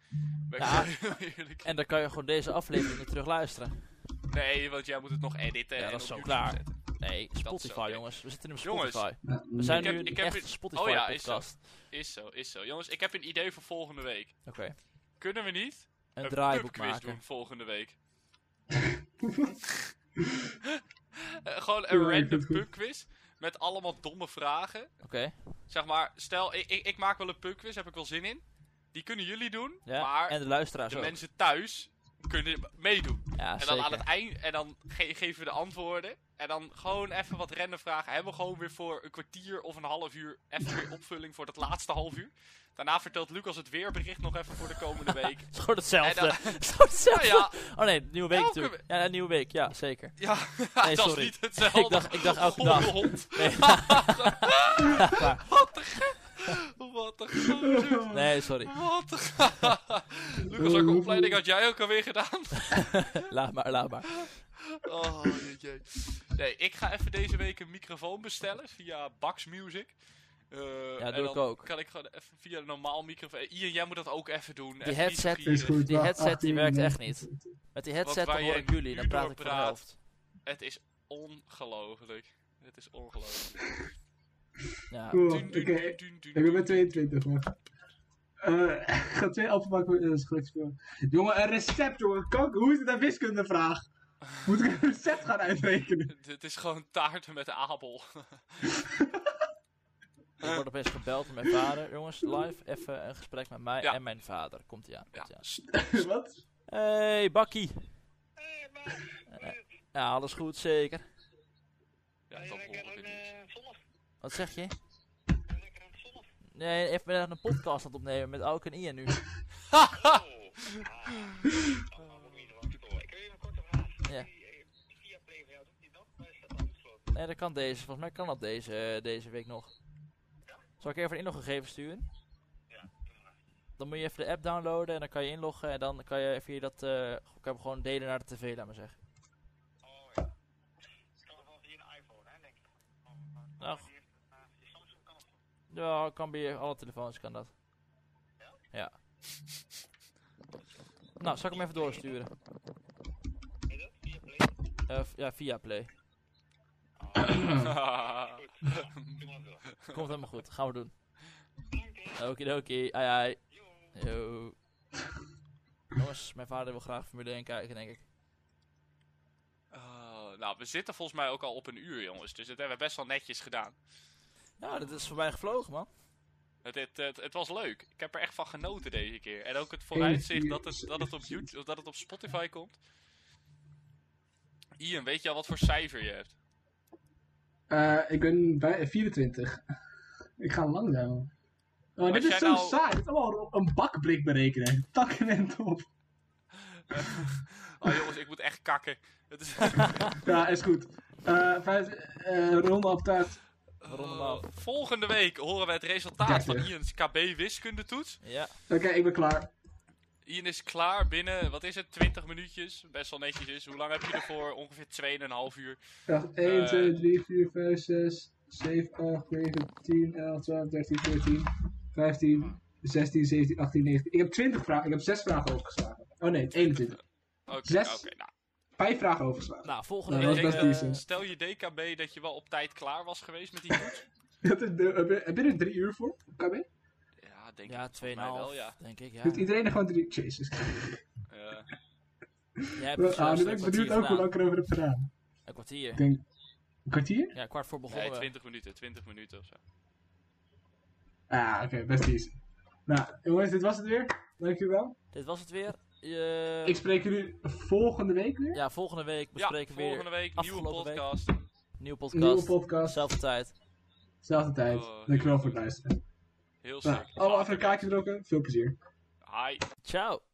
S4: Ben ik
S1: Ja.
S4: heel eerlijk in.
S1: En dan kan je gewoon deze aflevering weer terug luisteren.
S4: Nee, want jij moet het nog editen.
S1: Ja,
S4: en
S1: dat
S4: op
S1: is zo
S4: YouTube
S1: klaar.
S4: zetten.
S1: Nee, Spotify
S4: oké.
S1: jongens. We zitten nu op
S4: Jongens.
S1: Spotify.
S2: Ja,
S1: We zijn
S4: Ik heb-
S1: nu
S4: ik
S1: een
S4: heb
S1: echt
S4: het-
S1: Spotify
S4: oh ja, is zo.
S1: podcast.
S4: Is zo, is zo. Jongens, ik heb een idee voor volgende week.
S1: Oké.
S4: Kunnen we niet
S1: Een draaiboek
S4: pubquiz
S1: maken.
S4: doen volgende week? <laughs> Eh, gewoon een
S2: Ja, ik vind
S4: random
S2: het goed.
S4: pubquiz met allemaal domme vragen.
S1: Oké.
S4: Zeg maar, stel, ik, ik, ik maak wel een pubquiz, heb ik wel zin in. Die kunnen jullie doen,
S1: Ja.
S4: maar
S1: en de luisteraars
S4: de
S1: ook.
S4: mensen thuis kunnen meedoen.
S1: Ja, Ja,
S4: en
S1: zeker.
S4: dan aan het eind, en dan ge- geven we de antwoorden. En dan gewoon even wat random vragen. Hebben we gewoon weer voor een kwartier of een half uur even weer opvulling voor dat laatste half uur. Daarna vertelt Lucas het weerbericht nog even voor de komende week.
S1: Het is gewoon hetzelfde.
S4: En dan-
S1: Het <laughs> is gewoon hetzelfde.
S4: Nou ja.
S1: Oh nee, nieuwe week
S4: Elke
S1: natuurlijk. Ja, nieuwe week. Ja, zeker.
S4: <laughs> Ja,
S1: Nee,
S4: dat
S1: sorry.
S4: is niet hetzelfde.
S1: <laughs> Ik dacht- ik dacht elke
S4: Goede
S1: dag. <laughs>
S4: hond.
S1: Nee,
S4: Wat een ge- Wat een
S1: <laughs>
S4: ge-
S1: nee sorry.
S4: Wat een ge- <laughs> Lucas, welke opleiding had jij ook alweer gedaan?
S1: Laat maar, laat maar.
S4: Oh, jeetje. Nee, ik ga even deze week een microfoon bestellen via Bax Music. Eh,
S1: Ja,
S4: en
S1: doe
S4: dan
S1: ik ook.
S4: Kan ik gewoon even via een normaal microfoon. Eh, Ian, jij moet dat ook even doen.
S1: Die headset
S2: Is mm. goed,
S1: Die
S2: maar
S1: headset, die
S2: 18
S1: werkt echt
S2: minuten.
S1: Met die headset
S4: Wat
S1: dan
S4: wij
S1: hoor ik
S4: nu
S1: jullie, dan praat ik voor de
S4: doorpraat.
S1: helft.
S4: Het is ongelooflijk. Het is ongelooflijk.
S1: Ja.
S2: Cool,
S4: Dun,
S2: oké.
S4: dun, dun, dun, dun,
S2: Ik ben
S4: dun.
S2: met 22, maar... Eh, <laughs> ik ga twee alfabakken uh, gelijk spelen. Jongen, een recept, jongen. Kanker, hoe is het een wiskundevraag? Moet ik een recept gaan uitrekenen? <laughs>
S4: Dit is gewoon taarten met abel.
S1: Ik word opeens gebeld door mijn vader. Jongens, live, even een gesprek met mij
S4: Ja.
S1: en mijn vader. Komt ie aan.
S4: Ja.
S1: Komt ie aan.
S4: s-
S2: Wat?
S1: Hey, Bakkie. Eh, ja, alles goed, zeker.
S4: Ja, dat ongeveer niet.
S1: Wat zeg je? Nee, even ben een podcast aan het opnemen met Alk en Ian nu. <laughs> Ja. Nee, dat kan deze. Volgens mij kan dat deze, eh, deze week nog. Zal ik even een inloggegevens sturen? Dan moet je even de app downloaden en dan kan je inloggen en dan kan je via dat eh, kan je gewoon delen naar de tv, laat maar zeggen. Nou, go- ja, kan bij alle telefoons kan dat. Ja. Nou, zal ik hem even doorsturen? Eh, v- ja, via Play.
S2: <clears throat>
S4: <laughs>
S1: Komt helemaal goed, gaan we doen. Okidoki, ai ai. Yo. Jongens, mijn vader wil graag Formule 1 kijken, denk ik.
S4: Ah, nou, we zitten volgens mij ook al op een uur, jongens. Dus dat hebben we best wel netjes gedaan.
S1: Ja, dat is voorbij gevlogen, man.
S4: Het, het, het, het was leuk. Ik heb er echt van genoten deze keer. En ook het vooruitzicht
S2: uur.
S4: dat het, dat
S2: <laughs>
S4: het, op, YouTube, of dat het op Spotify komt. Ian, weet je al wat voor cijfer je hebt?
S2: Eh, ik ben bij 24. Ik ga langzaam. Oh, dit
S4: jij
S2: is zo
S4: nou-
S2: saai. Dit is allemaal een bakblik berekenen. Takken en top.
S4: oh jongens, ik moet echt kakken. Het <laughs> is...
S2: Ja, is goed. Eh vijf, eh, ronde op taart.
S1: Rond hem af.
S4: Eh, volgende week horen we het resultaat
S2: Kakken.
S4: van Ian's KB wiskundetoets.
S1: Ja,
S2: Oké, ik ben klaar.
S4: Ian is klaar binnen, wat is het, 20 minuutjes. Best wel netjes is. Hoe lang heb je ervoor? Ongeveer 2,5 uur.
S2: Wacht, 1,
S4: Eh.
S2: 2, 3, 4, 5, 6, 7, 8, 9, 10, 11, 12, 13, 14, 15, 16, 17, 18, 19. Ik heb 20 vragen. Ik heb 6 vragen overgeslagen. Oh nee, 21.
S4: Oké,
S2: Zes.
S4: oké, nou.
S2: 5 vragen overgeslagen.
S1: nou, volgende
S2: Nou,
S1: week.
S2: dat was
S4: Ik,
S2: best
S1: eh,
S2: decent.
S4: Stel je DKB dat je wel op tijd klaar was geweest met die toets.
S2: <laughs> Dat is de- heb je- heb je er 3 uur voor? KB?
S4: Ja, denk
S1: ja,
S4: ik volgens mij wel,
S1: 2,5,
S4: ja.
S1: denk ik. Ja.
S2: Doet iedereen er gewoon 3 Jezus.
S4: Ja.
S1: Jij hebt het zelfs een
S2: Ah, nu ben ik
S1: kwartier
S2: benieuwd ook hoe
S1: gedaan.
S2: lang ik erover heb gedaan.
S1: Een
S2: Ik
S1: kwartier.
S2: denk, een kwartier?
S1: Ja, kwart voor begonnen.
S4: Nee,
S1: we.
S4: 20 minuten, 20 minuten of zo.
S2: Ah, oké, best decent. Nou, jongens, dit was het weer. Dankjewel.
S1: Dit was het weer. Eh,
S2: Ik spreek jullie volgende week weer.
S1: ja, volgende week
S4: Ja,
S1: bespreken we
S4: volgende
S1: weer
S4: week nieuwe
S1: afgelopen week.
S4: podcast.
S1: een nieuwe
S2: Nieuwe
S1: podcast.
S2: podcast,
S1: Zelfde tijd.
S2: zelfde tijd.
S4: Oh,
S2: Dankjewel voor het luisteren.
S4: Heel
S2: Nou,
S4: sterk.
S2: allemaal even een kaartje drukken. Veel plezier.
S4: Hi.
S1: Ciao.